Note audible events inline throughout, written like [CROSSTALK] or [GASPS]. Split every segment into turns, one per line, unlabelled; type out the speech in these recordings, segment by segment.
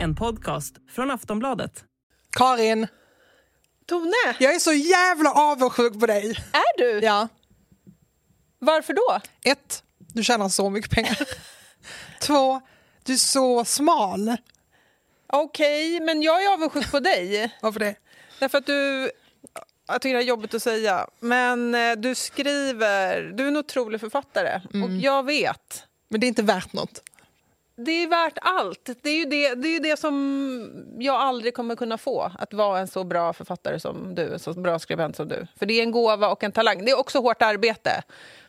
En podcast från Aftonbladet.
Karin,
Tone,
jag är så jävla avundsjuk på dig.
är du?
Ja.
Varför då?
Ett, du tjänar så mycket
[LAUGHS]
pengar. Två, du är så smal.
Okej, men jag är avundsjuk på dig. [LAUGHS]
Varför det?
Därför att du... Jag tycker det är jobbigt att säga, men eh, du skriver... Du är en otrolig författare, och
Mm.
jag vet.
Men det är inte värt något.
Det är värt allt. Det är ju det, det, är ju det som jag aldrig kommer kunna få. Att vara en så bra författare som du, en så bra skribent som du. För det är en gåva och en talang. Det är också hårt arbete.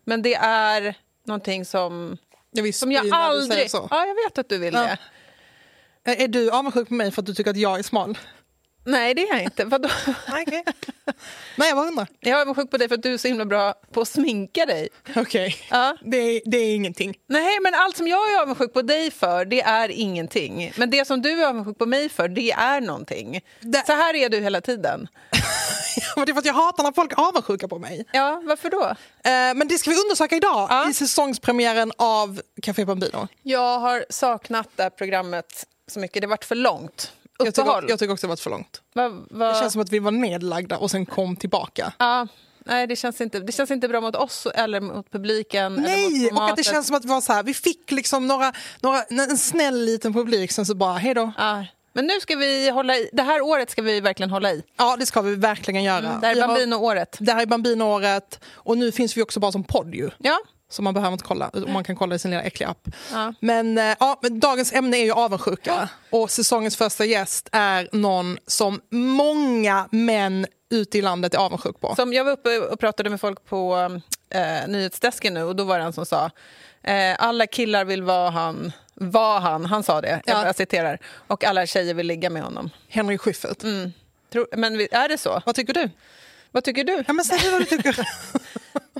Men det är någonting som,
Jag visst,
som jag
Ina, du säger
aldrig...
Så.
Ja, jag vet att du vill
Ja.
det.
Är du avundsjuk på mig för att du tycker att jag är smal?
Nej, det är jag inte. Vadå?
Okay. [LAUGHS] Nej, jag bara undrar.
Jag är avundsjuk på dig för att du är så himla bra på att sminka dig.
[LAUGHS] Okej,
Ja.
det, är- det är ingenting. [LAUGHS]
Nej, men allt som jag är avundsjuk på dig för, det är ingenting. Men det som du är avundsjuk på mig för, det är någonting.
Det-
Så här är du hela tiden.
Men det är för att jag hatar när folk är avundsjuka på mig.
Ja, varför då?
Eh, men det ska vi undersöka idag
Ja.
i säsongspremiären av Café Bambino.
Jag har saknat det här programmet så mycket. Det har varit för långt.
Jag tycker,
Uppehåll.
jag tycker också det har varit för långt.
Va, va...
Det känns som att vi var nedlagda och sen kom tillbaka.
ja, nej, det känns, inte, det känns inte bra mot oss eller mot publiken. eller
Nej,
mot
och att det
formatet.
känns som att vi var så här, vi fick liksom några, några, en snäll liten publik sen så bara hej då.
Ja. Men nu ska vi hålla i. Det här året ska vi verkligen hålla i.
Ja, det ska vi verkligen göra.
Mm, det här
Vi
är
har-
Bambino-året.
Det här är Bambino-året och nu finns vi också bara som podd ju.
Ja.
Så man behöver inte kolla, och man kan kolla i sin lilla äckliga app.
Ja.
Men, eh, ja, men dagens ämne är ju avundsjuka. Och säsongens första gäst är någon som många män ute i landet är avundsjuk på.
Som jag var uppe och pratade med folk på eh, nyhetsdesken nu och då var det en som sa eh, alla killar vill vara han, var han, han sa det,
Ja.
jag citerar, och alla tjejer vill ligga med honom.
Henry Schyffert.
Mm. Tror- Men vi- är det så?
Vad tycker du?
Vad tycker du?
Ja, men säg vad du
[LAUGHS]
tycker.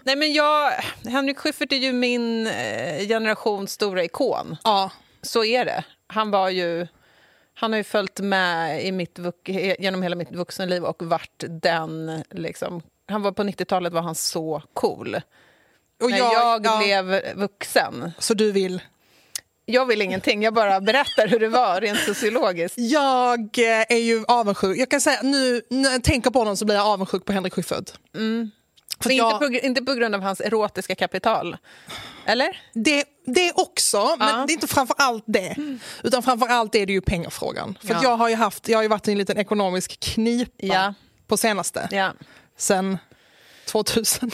Nej, men jag, Henrik Schyffert är ju min eh, generations stora ikon.
ja.
Så är det. Han var ju... Han har ju följt med i mitt, vux- he- genom hela mitt vuxenliv och varit den... Liksom, han var på 90-talet var han så cool.
Och
När jag,
ja.
blev vuxen.
Så du vill?
Jag vill ingenting, jag bara berättar hur det var rent sociologiskt.
Jag eh, är ju avundsjuk. Jag kan säga nu, när jag tänker på honom så blir jag avundsjuk på Henrik Schyffert. För
Men
jag-
inte, på, gr- inte på grund av hans erotiska kapital. Eller?
Det, det också, men
Ja.
det är inte framför allt det. Utan framför allt är det ju pengafrågan. För att
Ja.
jag har ju haft, jag har ju varit i en liten ekonomisk knipa
Ja.
på senaste,
Ja.
sen
[LAUGHS]
2000.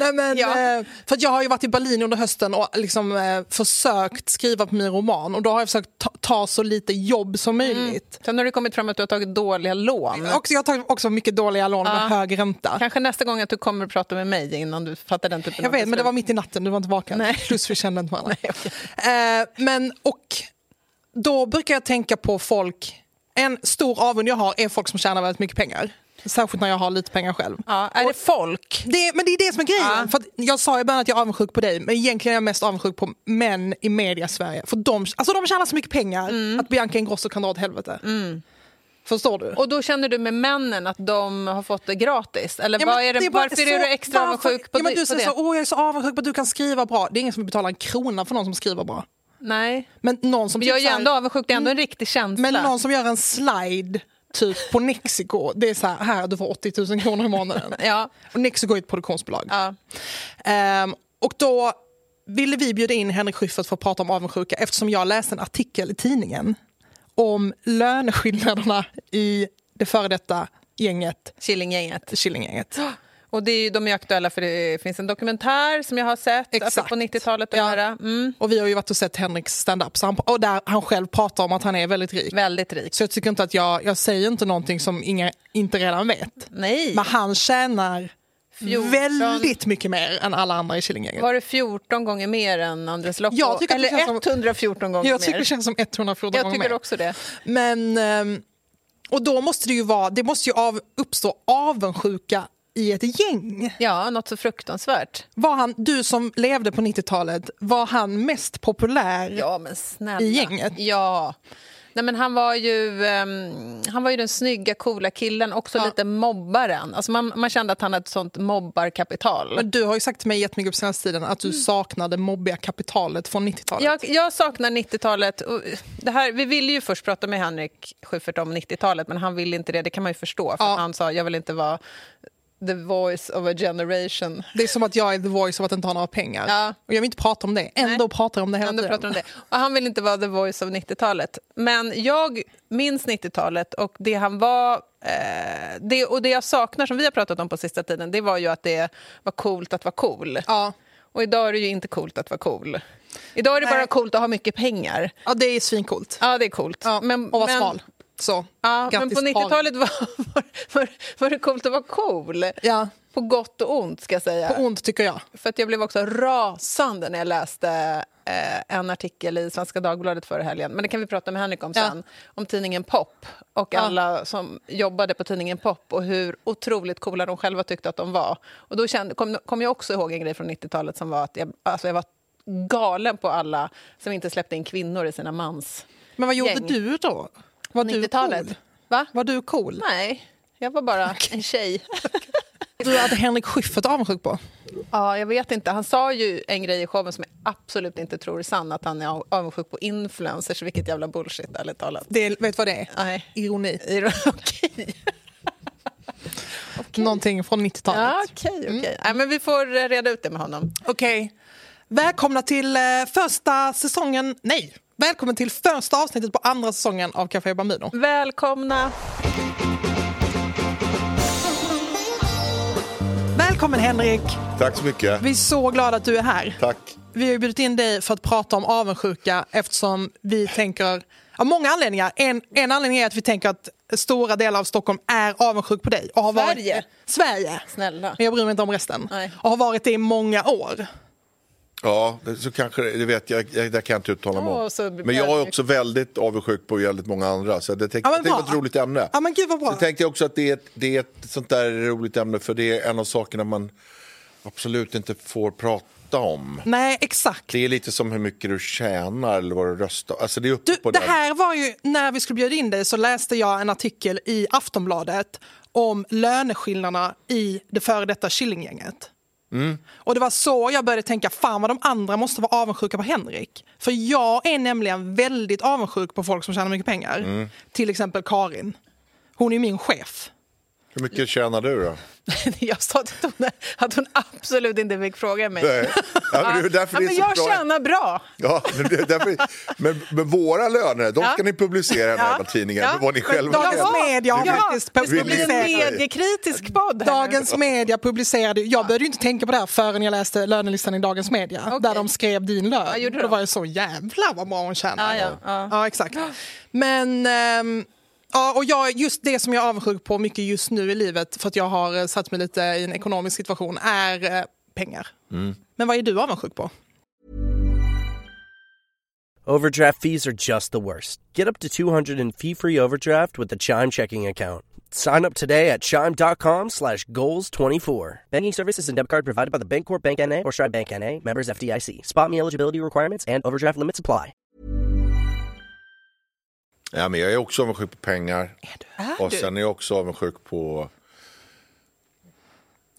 Nej, men,
Ja.
eh, för att jag har ju varit i Berlin under hösten och liksom, eh, försökt skriva på min roman och då har jag försökt ta, ta så lite jobb som möjligt.
Sen har det kommit fram att du har tagit dåliga lån.
Och jag har tagit också mycket dåliga lån med hög ränta.
Mm. Kanske nästa gång att du kommer att prata med mig innan du fattar den typen
Jag
av
vet, men det
beslut.
var mitt i natten, du var inte vaken.
Nej.
Plus vi kände inte
[LAUGHS]
varandra. eh, men, och då brukar jag tänka på folk... En stor avund jag har är folk som tjänar väldigt mycket pengar. Särskilt när jag har lite pengar själv.
Ja, är det folk?
Det, men det är det som är grejen.
Ja.
För att jag sa i början att jag är avundsjuk på dig, men egentligen är jag mest avundsjuk på män i media-Sverige. För de, alltså de tjänar så mycket pengar att Bianca Ingrosso kan dra åt helvete. Förstår du?
Mm. Och då känner du med männen att de har fått det gratis? Eller
Ja, men
vad är det,
bara
varför
så-
är du extra
varför-
avundsjuk på,
ja, men
di-
Du
på
säger
det?
så, åh jag är så avundsjuk på att du kan skriva bra. Det är ingen som betalar en krona för någon som skriver bra.
Nej.
Men någon som,
Men jag
typ
är
så här-
ändå avundsjuk, det är ändå en riktig känsla.
men någon som gör en slide typ på Nexiko, det är så här, här du får 80 000 kronor i
[LAUGHS]
månaden.
Ja,
Och Nexiko är ett produktionsbolag.
ja.
Ehm, och då ville vi bjuda in Henrik Schyffert för att prata om avundsjuka eftersom jag läste en artikel i tidningen om löneskillnaderna i det före detta gänget,
Killinggänget.
Killinggänget.
Och det är ju, de är ju aktuella för det finns en dokumentär som jag har sett alltså
Exakt.
apropå 90-talet.
Ja.
Ja. Mm,
Och vi har ju varit och sett Henriks stand-up så han, och där han själv pratar om att han är väldigt rik.
väldigt rik.
Så jag tycker inte att jag, jag säger inte någonting som inga inte redan vet.
Nej,
Men han tjänar
14.
väldigt mycket mer än alla andra i Killinggänget.
var det 14 gånger mer än Andres Lokko?
Jag tycker att det
Eller
känns som-
114 gånger
Jag tycker
mer?
det känns som 114
Jag
gånger
tycker
mer.
också det.
Men, ehm, och då måste det ju vara, det måste ju av, uppstå avundsjuka i ett gäng.
Ja, något så fruktansvärt.
Var han, du som levde på 90-talet, var han mest populär?
Ja, men snälla.
I gänget?
Ja. Nej, men han, var ju, ehm, han var ju den snygga, coola killen, också
Ja.
lite mobbaren. Alltså man, man kände att han hade ett sånt mobbarkapital.
Men du har ju sagt till mig jättemycket på senaste tiden att du saknar det mobbiga kapitalet från 90-talet.
Mm. Jag, jag saknar 90-talet. och det här- Vi ville ju först prata med Henrik Schyffert om 90-talet men han ville inte det. Det kan man ju förstå. För
Ja.
att Han sa jag vill inte vara the voice of a generation.
Det är som att jag är the voice av att inte ha några pengar.
Ja.
Och jag vill inte prata om det, ändå
Nej.
pratar jag om det hela
Ändå
tiden.
pratar om det. Och han vill inte vara the voice of 90-talet. Men jag minns 90-talet och det han var... Eh, det, och det jag saknar, som vi har pratat om på sista tiden, det var ju att det var coolt att vara cool.
Ja.
Och idag är det ju inte coolt att vara cool. Idag är det bara
Nej.
coolt att ha mycket pengar.
ja, det är svincoolt.
Ja, det är coolt.
Ja.
Men-
och vara
men-
smal. Så.
Ja, men
Grattis,
på 90-talet var, var, var, var det coolt att vara cool.
Ja,
På gott och ont, ska jag säga.
på ont tycker jag.
För att jag blev också rasande när jag läste eh, en artikel i Svenska Dagbladet förra helgen. Men det kan vi prata med Henrik om
Ja.
sen. Om tidningen Pop och
Ja.
alla som jobbade på tidningen Pop och hur otroligt coola de själva tyckte att de var. Och då kände, kom, kom jag också ihåg en grej från 90-talet som var att jag, alltså jag var galen på alla som inte släppte in kvinnor i sina mans...
Men vad gjorde
Gäng.
du då? Var du
90-talet.
cool?
Va?
Var du cool?
Nej, jag var bara en tjej.
Du hade Henrik Schyffert avundsjuk på.
Ja, jag vet inte. Han sa ju en grej i showen som jag absolut inte tror är sann, att han är avundsjuk på influencers, vilket jävla bullshit, ärligt talat.
Det, är- vet du vad det är?
Nej.
Ironi.
I- [LAUGHS] Okej.
Någonting från 90-talet.
Ja, okej, okej. Nej, men Vi får eh, reda ut det med honom.
Okej. Välkomna till eh, första säsongen... Nej! Välkommen till första avsnittet på andra säsongen av Café Bambino.
Välkomna.
Välkommen Henrik!
Tack så mycket.
Vi är så glada att du är här.
Tack.
Vi har ju bjudit in dig för att prata om avundsjuka eftersom vi tänker... Av många anledningar. En, en anledning är att vi tänker att stora delar av Stockholm är avundsjuk på dig. Och har
Sverige.
Varit, Sverige!
Snälla.
Men jag bryr mig inte om resten.
Nej.
Och har varit det i många år.
Ja, det- så kanske det, det vet jag, jag det kan jag inte uttala mig
Åh,
om.
så
Men jag är också väldigt avundsjuk på väldigt många andra. Så det tänk,
Ja, men
jag tänkte
bra.
att det var ett roligt ämne.
Ja, men gud vad bra.
Så tänkte jag också att det är, ett, det är ett sånt där roligt ämne för det är en av sakerna man absolut inte får prata om.
Nej, exakt.
Det är lite som hur mycket du tjänar eller vad du röstar. Alltså det är uppe
Du,
på
det
den.
här var ju, när vi skulle bjuda in dig så läste jag en artikel i Aftonbladet om löneskillnaderna i det före detta Killinggänget. Och det var så jag började tänka, fan vad de andra måste vara avundsjuka på Henrik. För jag är nämligen väldigt avundsjuk på folk som tjänar mycket pengar. Till exempel Karin. Hon är min chef.
Hur mycket tjänar
[LAUGHS]
du då?
Jag [LAUGHS] sa till hon att hon absolut inte fick fråga mig.
Nej. Ja, men det är därför
Ja,
det är
men
så
jag
bra.
tjänar bra.
Ja, men, det är därför, men, men våra löner, de
Ja.
ska ni publicera i den här
Ja.
tidningen.
Ja.
Men vad ni själva
Dagens
tjänar.
Media har
Vi vill-
faktiskt
det ska
vi
bli en
vill-
mediekritisk podd. här
[LAUGHS]
nu.
Dagens Media publicerade, jag började ju inte tänka på det här förrän jag läste lönelistan i Dagens Media där de skrev din lön.
gjorde
Då
de?
var jag så jävla vad bra hon tjänar.
Ja, ja, ja.
exakt. Men ehm, ja, och jag, just det som jag är avundsjuk på mycket just nu i livet för att jag har eh, satt mig lite i en ekonomisk situation är eh, pengar.
Mm.
Men vad är du avundsjuk på?
Overdraft fees are just the worst. Get up to 200 in fee-free overdraft with the Chime checking account. Sign up today at Chime.com slash Goals24. Banking services and debit card provided by the Bancorp Bank N.A. or Stride Bank N.A. Members FDIC. Spot me eligibility requirements and overdraft limits apply.
Ja, men jag är också avundsjuk på pengar. och sen är jag också avundsjuk på...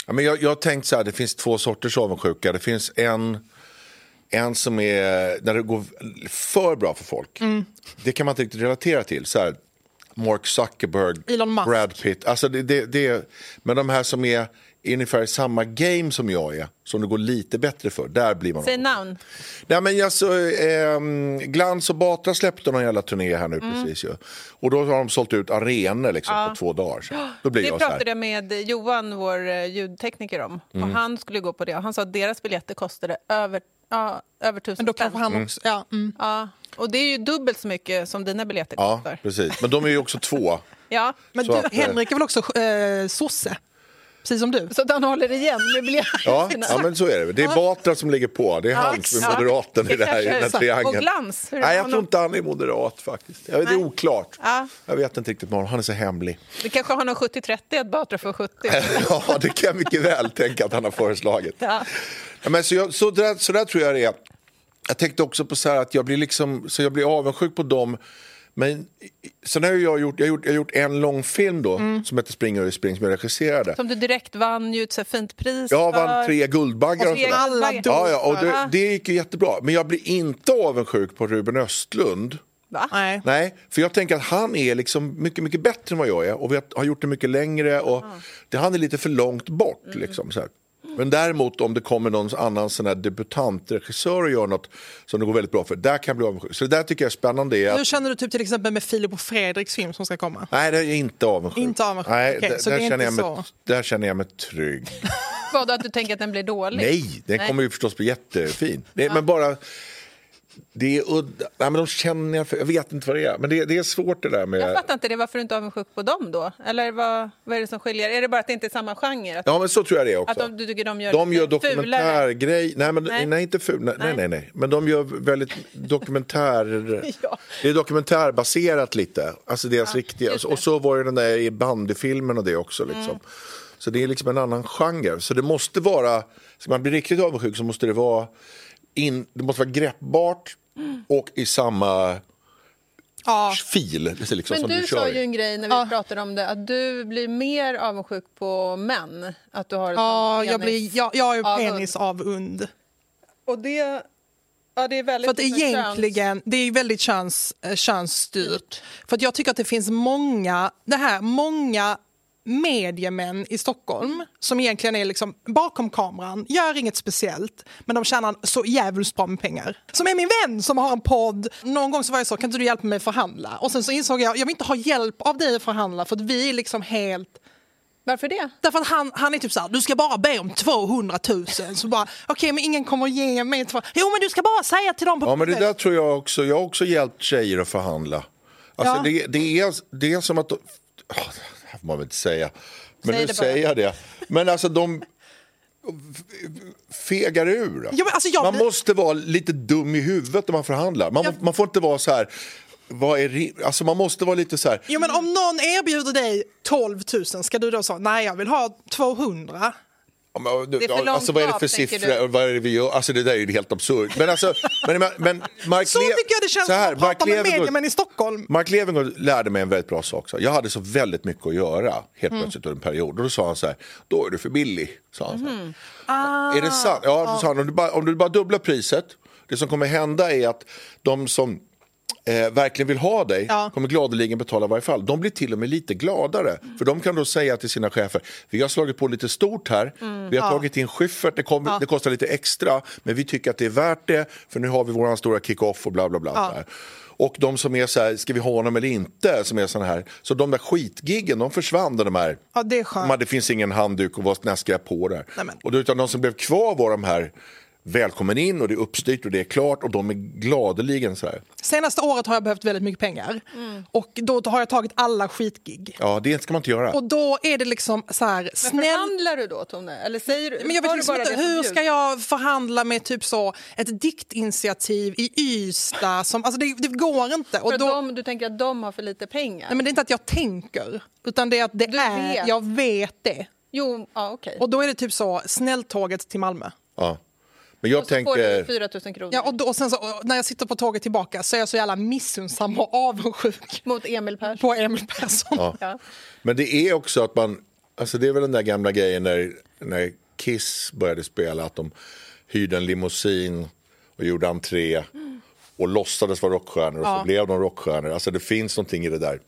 Ja, men jag, jag har tänkt så här, det finns två sorters avundsjuka. Det finns en, en som är när det går för bra för folk. Det kan man inte riktigt relatera till. Så här, Mark Zuckerberg,
Elon Musk.
Brad Pitt. Alltså det, det, det, men de här som är ungefär i samma game som jag är, som det går lite bättre för, där blir man
Säg namn.
Nej, men jag så, ehm, Glans och Batra släppte någon jävla turné här nu
Mm.
precis ju. Och då har de sålt ut arenor liksom, på två dagar. Så. Då blir
Det
jag så här. Mm.
pratade jag med Johan, vår eh, ljudtekniker, om. Och han skulle gå på det. Och han sa att deras biljetter kostade över, ja, över
Men
tusen
då kanske han också... Ja, mm.
Ja. Och det är ju dubbelt så mycket som dina biljetter
Ja,
kostar.
precis. Men de är ju
[LAUGHS]
också två.
Ja.
Men
Så
du,
att, eh,
Henrik är väl också eh, sosse? Precis som du.
Så att han håller igen med biljetterna.
Ja, ja, men så är det. Det är Batra som ligger på. Det är han som är
Ja.
moderaten i det här, i den här
Exakt.
triangeln.
Och Glans, hur är
Nej, jag
honom?
tror inte han är moderat faktiskt. Jag, det är
Nej.
oklart.
Ja.
Jag vet inte riktigt med honom. Han är så hemlig.
Det kanske har någon 70-30 att Batra får 70.
[LAUGHS] ja, det kan jag mycket väl tänka att han har föreslagit.
Ja.
Ja, men så, jag, så, där, så där tror jag det är. Jag tänkte också på så här att jag blir, liksom, så jag blir avundsjuk på dem Men sen har ju jag gjort, jag har gjort, jag har gjort en långfilm då som heter Springer och spring som jag regisserade.
Mm. Som du direkt vann ju ett så här fint pris
Jag
för.
vann tre Guldbaggar
Och
och
tre
sådär.
Alla
Guldbaggar.
Ja, ja, och det,
Ah.
det gick ju jättebra. Men jag blir inte avundsjuk på Ruben Östlund.
Va?
Nej.
Nej, för jag tänker att han är liksom mycket, mycket bättre än vad jag är och vi har gjort det mycket längre och det, han är lite för långt bort.
Mm.
Liksom, så här. Men däremot om det kommer någon annan sån här debutantregissör och gör något som det går väldigt bra för, där kan jag bli avundsjuk. Så det där tycker jag är spännande. Är
Hur
att,
känner du typ till exempel med Filip och Fredriks film som ska komma?
nej, det är inte avundsjuk.
Inte avundsjuk,
Nej,
okej,
där,
så det är
där, känner jag
inte
mig, där känner jag mig trygg.
Vad, att du tänker att den blir dålig?
Nej, den kommer ju förstås bli jättefin. Det, Men bara... Det är udda. Nej, men de känner jag, för, jag vet inte vad det är. Men det, det är svårt det där med...
Jag fattar inte det. Varför är du inte avundsjuk på dem då? Eller vad, vad är det som skiljer? Är det bara att det inte är samma genre? Att,
Ja, men så tror jag det är
att
också.
de, du tycker de gör
De gör
lite fulare?
dokumentärgrej. Nej, men,
Nej.
nej. inte ful. Nej, nej,
Nej.
nej, nej. Men de gör
[LAUGHS]
väldigt dokumentär...
Ja.
Det är dokumentärbaserat lite. Alltså deras riktiga.
just det. Mm.
Och så var ju den där i bandyfilmen och det också. Liksom. Så det är liksom en annan genre. Så det måste vara... Ska man bli riktigt avundsjuk så måste det vara, in, det måste vara greppbart
Mm.
och i samma
Ja.
fil liksom,
Men
som
du,
du
sa
kör
ju
i.
en grej när vi pratade om det, att du blir mer avundsjuk på män. Att du har ett
Ja,
sånt
jag,
penis.
blir, jag, jag är
Avund.
penisavund.
Och det, ja, det är väldigt... liksom
För att
mycket köns-
egentligen, det är ju väldigt köns, eh, könsstyrt. För att jag tycker att det finns många, det här, många mediemän i Stockholm som egentligen är liksom bakom kameran, gör inget speciellt men de tjänar så jävligt bra med pengar. Som är min vän som har en podd. Någon gång så var jag så, kan inte du hjälpa mig att förhandla? Och sen så insåg jag, jag vill inte ha hjälp av dig att förhandla för att vi är liksom helt
Varför det?
Därför att han, han är typ såhär, du ska bara be om 200 000. Så bara, okej men ingen kommer att ge mig 200 000. Jo men du ska bara säga till dem på
Ja, men det där tror jag också. Jag har också hjälpt tjejer att förhandla. Alltså,
Ja.
det, det, är, det är som att... De, Åh, det här får man väl inte säga. Men
Säg
nu
det bara.
säger jag det. Men alltså, de fegar ur.
Ja, men alltså, jag
Man
blir-
måste vara lite dum i huvudet när man förhandlar. Man, man får inte vara så här... Vad är ri- alltså, man måste vara lite så här...
Jo men om någon erbjuder dig 12 000 ska du då säga, nej jag vill ha 200.
Ja, men,
är för långt
alltså, vad är det
av,
för
tänker
siffror?
du.
Vad är det vi gör? Alltså, det där är ju helt absurt. Men, alltså, men, men, men
[LAUGHS]
Mark
Så
Le-
tycker jag det känns
så här,
när man pratar
Mark
med
Levengood-
mediemän i Stockholm.
Mark Levengood lärde mig en väldigt bra sak. Så här, Jag hade så väldigt mycket att göra helt plötsligt under en period. Och då sa han så här, då är du för billig. Sa han så här. Ah. Är det sant? Ja, då sa han, om du, bara, om du bara dubblar priset, det som kommer hända är att de som eh, verkligen vill ha dig
Ja.
kommer gladeligen betala i varje fall. De blir till och med lite gladare. För de kan då säga till sina chefer, vi har slagit på lite stort här, vi har tagit in Schyffert, det, kom, det kostar lite extra, men vi tycker att det är värt det, för nu har vi vår stora kick-off och bla bla bla. så här." Och de som är så här, ska vi ha honom eller inte, som är såna här, så de där skitgiggen, de försvann, de här
Ja det är
de
skönt.
hade, det finns ingen handduk och vad när ska jag på där?
Nej, men-
Och då, utan de som blev kvar var de här välkommen in och det är uppstyrt och det är klart och de är gladeligen så här.
Senaste året har jag behövt väldigt mycket pengar
Mm.
och då har jag tagit alla skitgig.
Ja, det ska man inte göra.
Och då är det liksom så här,
Men
snäll
förhandlar du då, Tone? Eller säger du...
Men jag vet
har du
liksom
bara
inte,
det som
hur
bjuds?
ska jag förhandla med typ så ett diktinitiativ i Ystad? Som, alltså det, det går inte.
För
Och
att
då,
de, du tänker att de har för lite pengar?
nej men det är inte att jag tänker, utan det är att det
Du
är,
vet.
jag vet det.
Jo, ja, okej.
Och då är det typ så, snälltåget till Malmö.
Ja. Men jag
Och så får du 4
tänker...
000 kronor
Ja, och, då, och sen så, och när jag sitter på tåget tillbaka så är jag så jävla missunnsam och avundsjuk
mot Emil Persson.
på Emil Persson.
Ja.
Men det är också att man, alltså det är väl den där gamla grejen när, när Kiss började spela, att de hyrde en limousin och gjorde entré och låtsades vara rockstjärnor och så blev de rockstjärnor. Alltså det finns någonting i det där.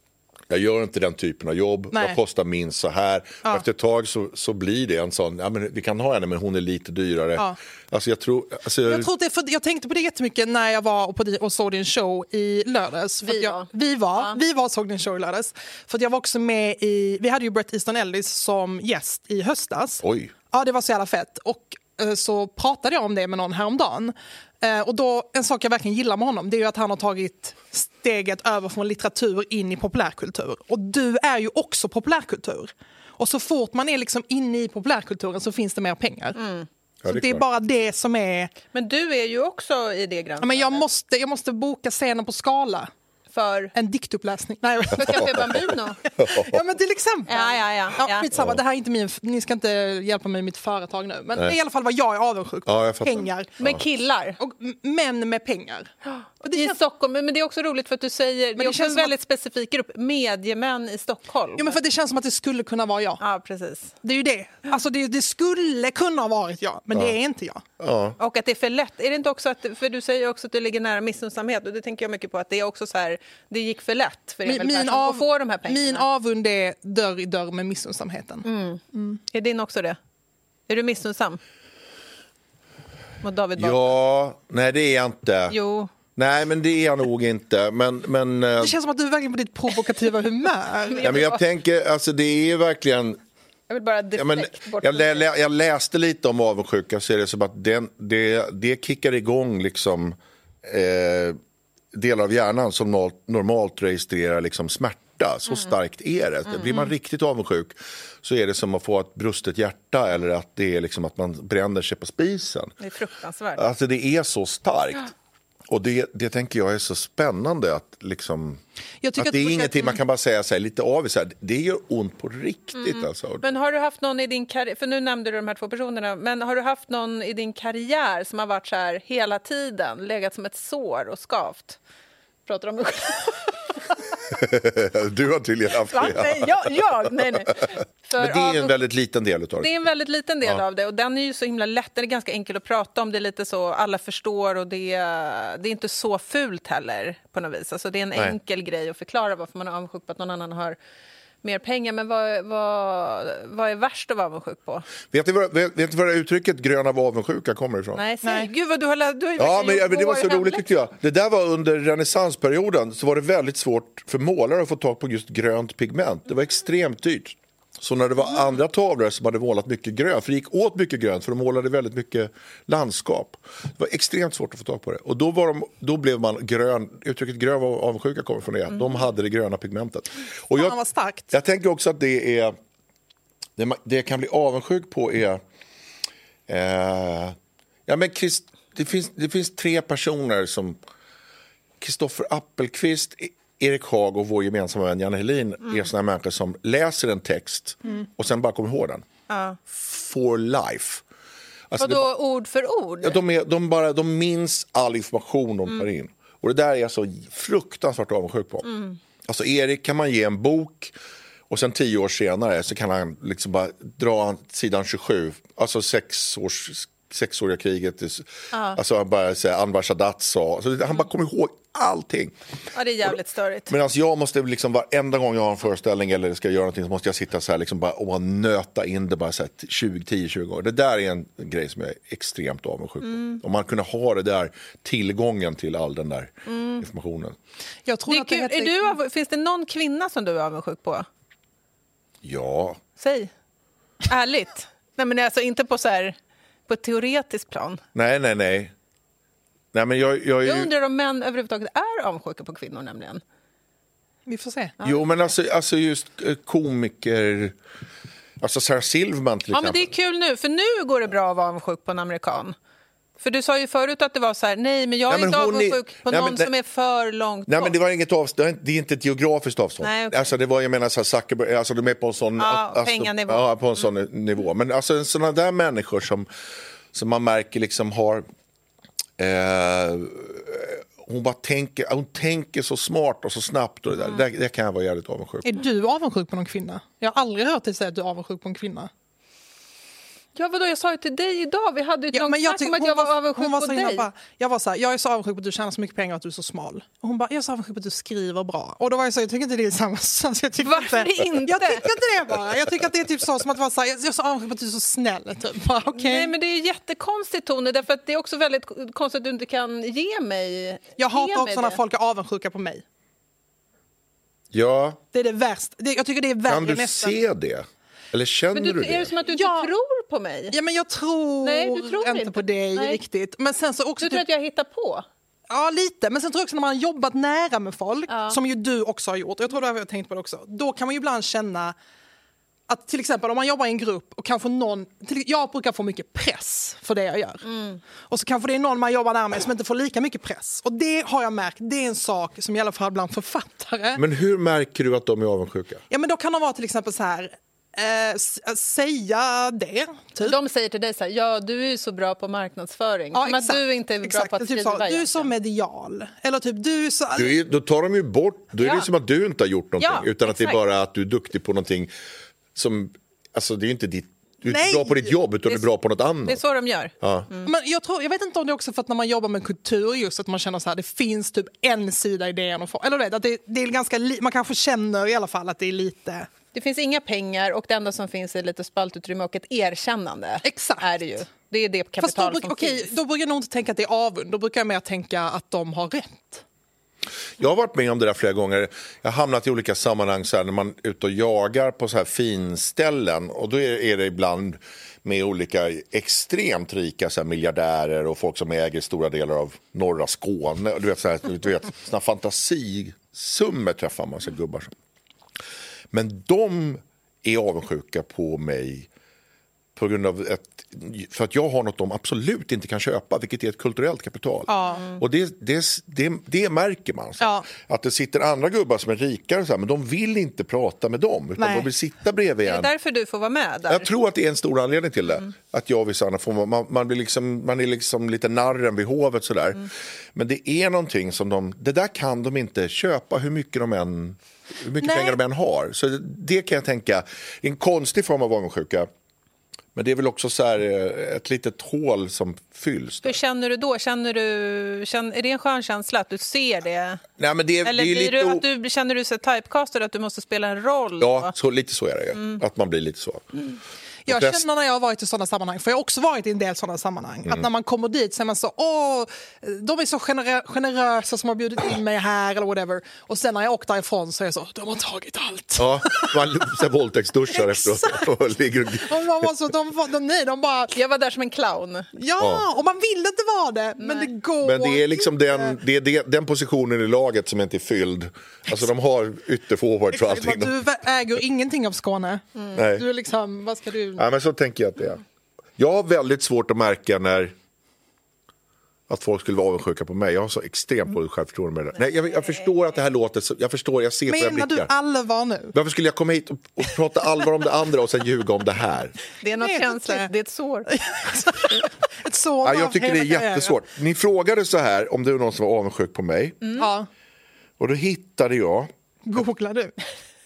Jag gör inte den typen av jobb,
Nej.
jag kostar minst så här. Och efter ett tag så, så blir det en sån, ja, men vi kan ha henne men hon är lite dyrare. Alltså jag tror, alltså,
Jag, tror att det, är för jag tänkte på det jättemycket när jag var och, på, di- och såg din show i lördags. För att
Vi
jag,
var.
Vi var, vi var och såg din show i lördags. För att jag var också med i, vi hade ju Brett Easton Ellis som gäst i höstas.
oj.
Ja, det var så jävla fett. Och eh, så pratade jag om det med någon häromdagen. Eh, Och då, en sak jag verkligen gillar med honom det är ju att han har tagit steget över från litteratur in i populärkultur. Och du är ju också populärkultur. Och så fort man är liksom inne i populärkulturen så finns det mer pengar.
Ja,
så
det är
det är
klart.
bara det som är...
Men du är ju också i det
Ja,
grannet.
men jag, måste, jag måste boka scenen på skala.
För,
En diktuppläsning. Nej, jag vet
för
inte.
Café
[LAUGHS]
Bambino.
ja, men till exempel.
Ja, ja, ja, ja.
skitsamma, det här är inte min, ni ska inte hjälpa mig i mitt företag nu. Men det är i alla fall vad jag är avundsjuk på.
Ja, jag fattar.
pengar.
Men killar.
Och m- män med pengar. Och det
I
känns-
Stockholm, men det är också roligt för att du säger... Det är
det
också
känns
en
som
väldigt specifik grupp, mediemän i Stockholm.
Jo, men för det känns som att det skulle kunna vara jag.
Ja, precis.
Det är ju det. Alltså det, det skulle kunna ha varit jag, men det är inte jag.
Ja.
Och att det är för lätt. Är det inte också att, för du säger också att du ligger nära missunnsamhet och det tänker jag mycket på att det är också så här, det gick för lätt för Emil
Min, min,
Persson
av,
att få de här pengarna. Mm.
min avund är dörr i dörr med missunnsamheten.
Är din också det? Är du missunnsam? Mot David Batra?
ja, nej det är jag inte.
Jo.
Nej, men det är jag nog inte. Men, men, eh,
Det känns som att du är verkligen på ditt provokativa humör.
ja, men jag tänker, alltså det är ju verkligen...
Jag vill bara deflekt
Ja, men,
bort
jag,
från
lä,
det.
lä, jag läste lite om avundsjuka, så är det som att den, det, det kickar igång liksom, eh, delar av hjärnan som no, normalt registrerar liksom smärta. Så starkt är det. Blir man riktigt avundsjuk så är det som att få ett brustet hjärta eller att, det är liksom att man bränner sig på spisen.
Det är fruktansvärt.
Alltså det är så starkt. Och det, det tänker jag är så spännande att liksom...
Jag tycker
att det
att-
är ingenting man kan bara säga så här, lite avis, så här, det gör ont på riktigt alltså. [LAUGHS]
Men har du haft någon i din karriär, för nu nämnde du de här två personerna, men har du haft någon i din karriär som har varit så här hela tiden, legat som ett sår och skavt? Pratar om mig
[LAUGHS]
själv?
Du har tydligen haft
Va?
det.
Nej, jag, jag? Nej, nej. För
Men det är ju en
avundsjuk-
väldigt liten del utav
Det är
det.
en väldigt liten del
Ja.
av det och den är ju så himla lätt, den är ganska enkel att prata om, det är lite så alla förstår och det, är- det är inte så fult heller på något vis. Alltså det är en
Nej.
enkel grej att förklara varför man är avundsjuk på att någon annan har mer pengar. Men vad, vad, vad är värst att vara avundsjuk på?
Vet ni, vad, vet, vet ni var det uttrycket grön av avundsjuka kommer ifrån?
Nej, säg. Gud vad du har läst, du har ju
Ja,
verkligen
men
gjort
ja, men det var
vår
så roligt
hemläxa.
tyckte jag. Det där var under renässansperioden så var det väldigt svårt för målare att få tag på just grönt pigment. Det var extremt dyrt. Så när det var
Mm.
andra tavlor som hade målat mycket grönt, för det gick åt mycket grönt för de målade väldigt mycket landskap. Det var extremt svårt att få tag på det. Och då, var de, då blev man grön, uttrycket grön av avundsjuka kommer från det.
Mm.
De hade det gröna pigmentet. Och
Fan, vad starkt.
jag tänker också att det är... Det, ma- det jag kan bli avundsjuk på är... Eh, ja, men Chris, det, finns, det finns tre personer som... Kristoffer Appelqvist, E- Erik Haag och vår gemensamma vän Janne Helin är såna här människor som läser en text och sen bara kommer ihåg den. For life. Alltså, det-
Vadå ord för ord?
Ja, de, är, de, bara, de minns all information de tar in. Och det där är jag så fruktansvärt avundsjuk på. Alltså Erik kan man ge en bok och sen tio år senare så kan han liksom bara dra sidan 27, alltså sex års, sexåriga kriget. Alltså han bara säger Anwar Sadat sa, alltså, han bara kommer ihåg allting.
Ja, det är jävligt störigt.
Medan jag måste liksom varenda gång jag har en föreställning eller ska göra någonting så måste jag sitta så här liksom bara, och bara nöta in det bara så här 20, 10, 20 år. Det där är en grej som jag är extremt avundsjuk på.
Mm.
Om man kunde ha det där tillgången till all den där
Mm.
informationen.
Jag tror
Det är
att det
kul.
heter...
Är du av, finns det någon kvinna som du är avundsjuk på?
Ja,
Säg. Ärligt. Nej, men alltså inte på så här, på ett teoretiskt plan.
nej, nej, nej. Nej, men jag, jag är
Jag
ju...
undrar om män överhuvudtaget är avundsjuka på kvinnor nämligen.
Vi får se.
Jo, men alltså, alltså just eh, komiker... Alltså Sarah Silverman till
Ja, men
exempel.
det är kul nu, för nu går det bra att vara avundsjuk på en amerikan. För du sa ju förut att det var så här, nej men jag är
Nej, men
inte
hon är-
avundsjuk på
Nej, men
någon
det-
som är för långt
Nej, men
bort.
det var inget avstånd. Det är inte ett geografiskt avstånd.
Nej, okej.
alltså, det var, jag menar, så här, Zuckerberg, alltså, de är på en sån...
Ja,
alltså,
penganivå. Mm.
Ja, på en sån nivå. Men alltså, sådana där människor som, som man märker liksom har... Eh, hon bara tänker, hon tänker så smart och så snabbt. Och det, där.
Mm.
Det, där- det kan jag vara jävligt avundsjuk
Är du avundsjuk på någon kvinna? Jag har aldrig hört dig säga att du är avundsjuk på en kvinna.
Ja, vadå, jag sa ju till dig idag, vi hade ju ett
Ja,
långt
men jag
snack
tyck,
om att
hon
jag var,
så-
avundsjuk
hon var
på
så himla
dig.
bara, jag var så här, jag är så avundsjuk på att du tjänar så mycket pengar och att du är så smal. Och hon bara, jag är så avundsjuk på att du skriver bra. Och då var jag så här, jag tycker inte det är samma sak. [LAUGHS] Alltså, Jag tycker
Varför
inte,
inte?
Jag tycker inte det bara. Jag tycker att det är typ så som att vara så här, jag är så avundsjuk på att du är så snäll. Typ. Bara, okej.
Nej, men det är jättekonstigt Tone, därför att det är också väldigt konstigt att du inte kan ge mig
Jag
ge
hatar
mig
också när
det.
folk är avundsjuka på mig.
Ja,
Det är det värsta. Det, jag tycker det är värre
kan du
nästan.
se det? Eller känner
Men
du,
du,
det?
är det som att du inte
Ja.
tror på mig?
Ja, men jag tror,
Nej, du tror
inte,
inte.
på dig
Nej.
riktigt. Men sen så också
Du tror
typ-
att jag hittar på?
Ja, lite. Men sen tror jag också när man har jobbat nära med folk, som ju du också har gjort, och jag tror du har tänkt på det också, då kan man ju ibland känna att till exempel om man jobbar i en grupp och kanske någon, till, jag brukar få mycket press för det jag gör.
Mm.
Och så kanske det är någon man jobbar nära med som inte får lika mycket press. Och det har jag märkt, det är en sak som i alla fall bland författare
Men hur märker du att de är avundsjuka?
Ja, men då kan de vara till exempel så här. eh, s- säga det, typ.
De säger till dig så här, ja du är ju så bra på marknadsföring.
Ja,
som att
exakt,
du inte är bra
exakt.
på att
typ
skriva.
så, Du är
egentligen.
så medial. Eller typ, du är så...
Du, är- då tar de ju bort, då är
Ja.
det som att du inte har gjort någonting.
Ja,
utan att det är
exakt.
bara att du är duktig på någonting som, alltså det är ju inte ditt, du är
Nej.
inte bra på ditt jobb utan du är
Det är-
bra på något
Det är
annat.
så de gör.
Ja.
Mm. Men jag, tror, jag vet inte om det är också för att när man jobbar med kultur just att man känner så här, det finns typ en sida i DN och få, eller du vet, att det, det är ganska li, man kanske känner i alla fall att det är lite
Det finns inga pengar och det enda som finns är lite spaltutrymme och ett erkännande.
Exakt.
Är det, ju. det är det
Fast då,
kapital
bruk,
som
okej,
finns.
då brukar jag nog inte tänka att det är avund, då brukar jag mer tänka att de har rätt.
Jag har varit med om det där flera gånger. Jag har hamnat i olika sammanhang så här, när man är ute och jagar på så här finställen och då är är det ibland med olika extremt rika så här, miljardärer och folk som äger stora delar av norra Skåne. Du vet, så här, du vet, såna fantasisummor träffar man sig gubbar. Men de är avundsjuka på mig på grund av ett, för att jag har något de absolut inte kan köpa, vilket är ett kulturellt kapital. Och det, det, det, det märker man. Så.
Ja.
Att det sitter andra gubbar som är rikare, så här, men de vill inte prata med dem, utan
Nej.
de vill sitta bredvid
Är det
en.
därför du får vara med där?
Jag tror att det är en stor anledning till det.
Mm.
Att jag och vissa andra får, man, man, blir liksom, man är liksom lite narren vid hovet sådär.
Mm.
Men det är någonting som de, det där kan de inte köpa hur mycket de än, hur mycket
Nej.
pengar de än har. Så det, det kan jag tänka, det är en konstig form av avundsjuka. Men det är väl också så här, eh, ett litet hål som fylls.
Hur
Där.
känner du då? Känner du, känn- är det en skön känsla att du ser det?
Nej, men det, är-
Eller
det är ju
blir
lite
du,
o-
att du, känner du dig typecastad, att du måste spela en roll?
Ja,
då? Mm.
så, lite så är det ju. Att man blir lite så.
Jag
flest-
känner när jag har varit i sådana sammanhang, för jag har också varit i en del sådana sammanhang, att när man kommer dit så är man så åh, de är så genera- generösa som har bjudit in mig här eller whatever. Och sen när jag åkt därifrån så är jag så, de har tagit allt.
Ja, man så här våldtäktsduschar efteråt och ligger och
Och man var så, de, var- de, nej, de bara,
Jag var där som en clown.
Ja,
Ja.
och man vill inte vara det, men det går
Men det är liksom
inte.
den, det är det, den positionen i laget som inte är fylld. Alltså de har ytterforwards och allting.
Du vä- äger ingenting av Skåne.
Nej.
Du är liksom, vad ska du...
Ja, men så tänker jag att det är. Jag har väldigt svårt att märka när att folk skulle vara avundsjuka på mig. Jag har så extremt dåligt självförtroende med det där. Nej, jag, jag förstår att det här låter... Så, jag förstår, jag ser på era
Menar du
blickar.
allvar nu? [LAUGHS]
Varför skulle jag komma hit och, och prata allvar om det andra och sen ljuga om det här?
Det är något
vet inte.
känsligt, det är ett
[LAUGHS]
sår.
Ett sår
Ja,
av
jag tycker
hela
det är
karriären.
jättesvårt. Ni frågade så här om det var någon som var avundsjuk på mig.
Ja,
Och då hittade jag
googla du.
Alltså,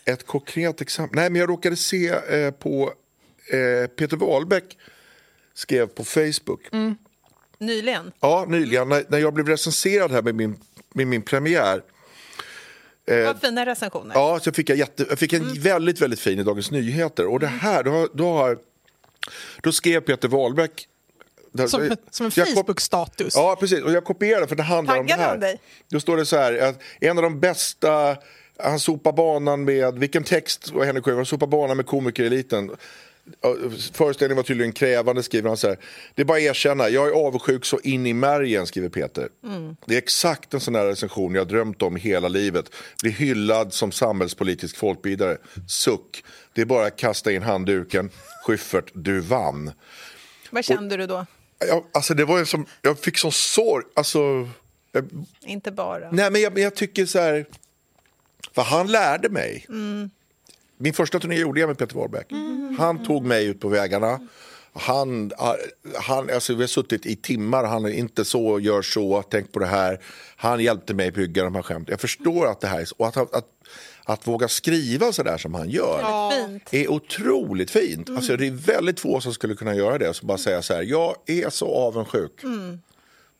Ett konkret exempel? Nej, men jag råkade se eh, på... Eh, Peter Wahlbeck skrev på Facebook
Mm.
Nyligen.
ja, nyligen när, när jag blev recenserad här med min, med min premiär.
Vad fina recensioner.
Ja, så fick jag, jätte, jag fick en
Mm.
väldigt, väldigt fin i Dagens Nyheter. Och det här, då, har- då, har, då skrev Peter Wahlbeck... där-
Som, som en
jag kom-
Facebook-status.
Ja, precis. Och jag kopierade för det handlar om det
Taggade
här.
han dig?
Då står det så här, att en av de bästa, han sopar banan med, vilken text var Henrik Sjöberg, han sopar banan med komikereliten. Ja, Föreställningen var tydligen krävande, skriver han så här. Det är bara att erkänna, jag är avundsjuk så in i märgen, skriver Peter. Det är exakt en sån här recension jag drömt om hela livet. Bli hyllad som samhällspolitisk folkbildare. Suck. Det är bara att kasta in handduken. Schyffert, du vann.
Vad kände du då?
Jag, alltså det var ju som, jag fick sån sorg. Alltså, jag,
Inte bara.
nej men jag, men jag tycker så här, för han lärde mig. Min första turné gjorde jag med Peter Wahlbeck. Han tog mig ut på vägarna. Han, han, alltså vi har suttit i timmar, han är inte så, gör så, tänk på det här. Han hjälpte mig bygga de här skämten. Jag förstår att det här är så, och att, att, att våga skriva så där som han gör
Fint.
är otroligt fint. Alltså, det är väldigt få som skulle kunna göra det. Så bara säga så här, jag är så avundsjuk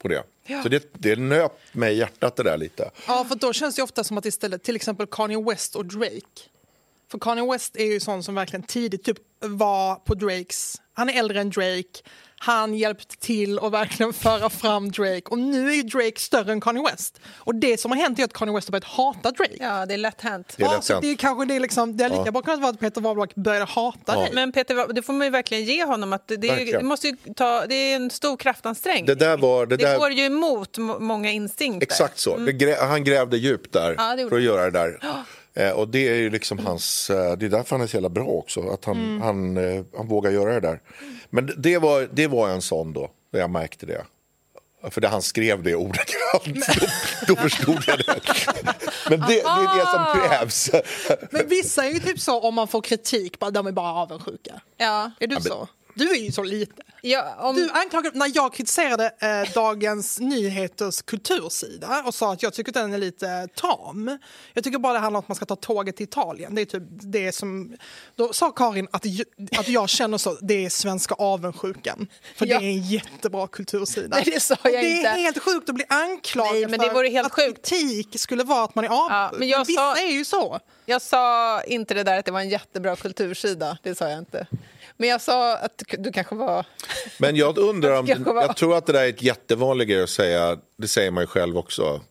på det. Så det, det nöp mig i hjärtat det där lite.
Ja, för då känns det ju ofta som att istället till exempel Kanye West och Drake. För Kanye West är ju sån som verkligen tidigt typ var på Drakes. Han är äldre än Drake. Han hjälpte till att verkligen föra fram Drake. Och nu är ju Drake större än Kanye West. Och det som har hänt är att Kanye West har börjat hata Drake.
Ja, det är lätt hänt.
Det är
Ja,
lätt
så
hänt.
det är kanske det är liksom, det har lika bra kunnat vara att Peter Wahlbeck började hata dig.
Men Peter, Wa- det får man ju verkligen ge honom. Att det, det, är ju,
Verkligen.
det, måste ju ta, det är en stor kraftansträngning.
Det där var... Det
Det
där,
går ju emot må- många instinkter.
exakt så. Det grä, han grävde djupt där
Mm. [GASPS] Ja, det gjorde
för att göra det där. Eh, och det är ju liksom hans... eh, Det är därför han är så jävla bra också. Att han,
Mm.
han, eh, han vågar göra det där. Men det- det var, det var en sån då, där jag märkte det. För det han skrev det ordagrant, då, [LAUGHS] då förstod jag
[LAUGHS]
det. Men det, det är det som krävs.
Men vissa är ju typ så om man får kritik, bara, de är bara avundsjuka.
Ja.
Är du
men-
så? Du är ju så lite.
Ja, om,
Du anklagade, när jag kritiserade eh, Dagens Nyheters kultursida och sa att jag tycker att den är lite tam. Jag tycker bara det handlar om att man ska ta tåget till Italien. Det är typ det som, då sa Karin att, ju- att jag känner så, det är svenska avundsjukan. För
Ja.
det är en jättebra kultursida.
[LAUGHS] Nej, det sa
Och
jag
det
inte.
är helt sjukt att bli anklagad
Nej, men det
för
vore helt
att
sjukt.
kritik skulle vara att man är avundsjuk.
Ja, men
men
jag
vissa
sa-
är ju så.
jag sa inte det där att det var en jättebra kultursida. Det sa jag inte. Men jag sa att du- du kanske var...
Men jag undrar om...
Jag ska vara-
Jag tror att det där är ett jättevanligt grej att säga. Det säger man ju själv också.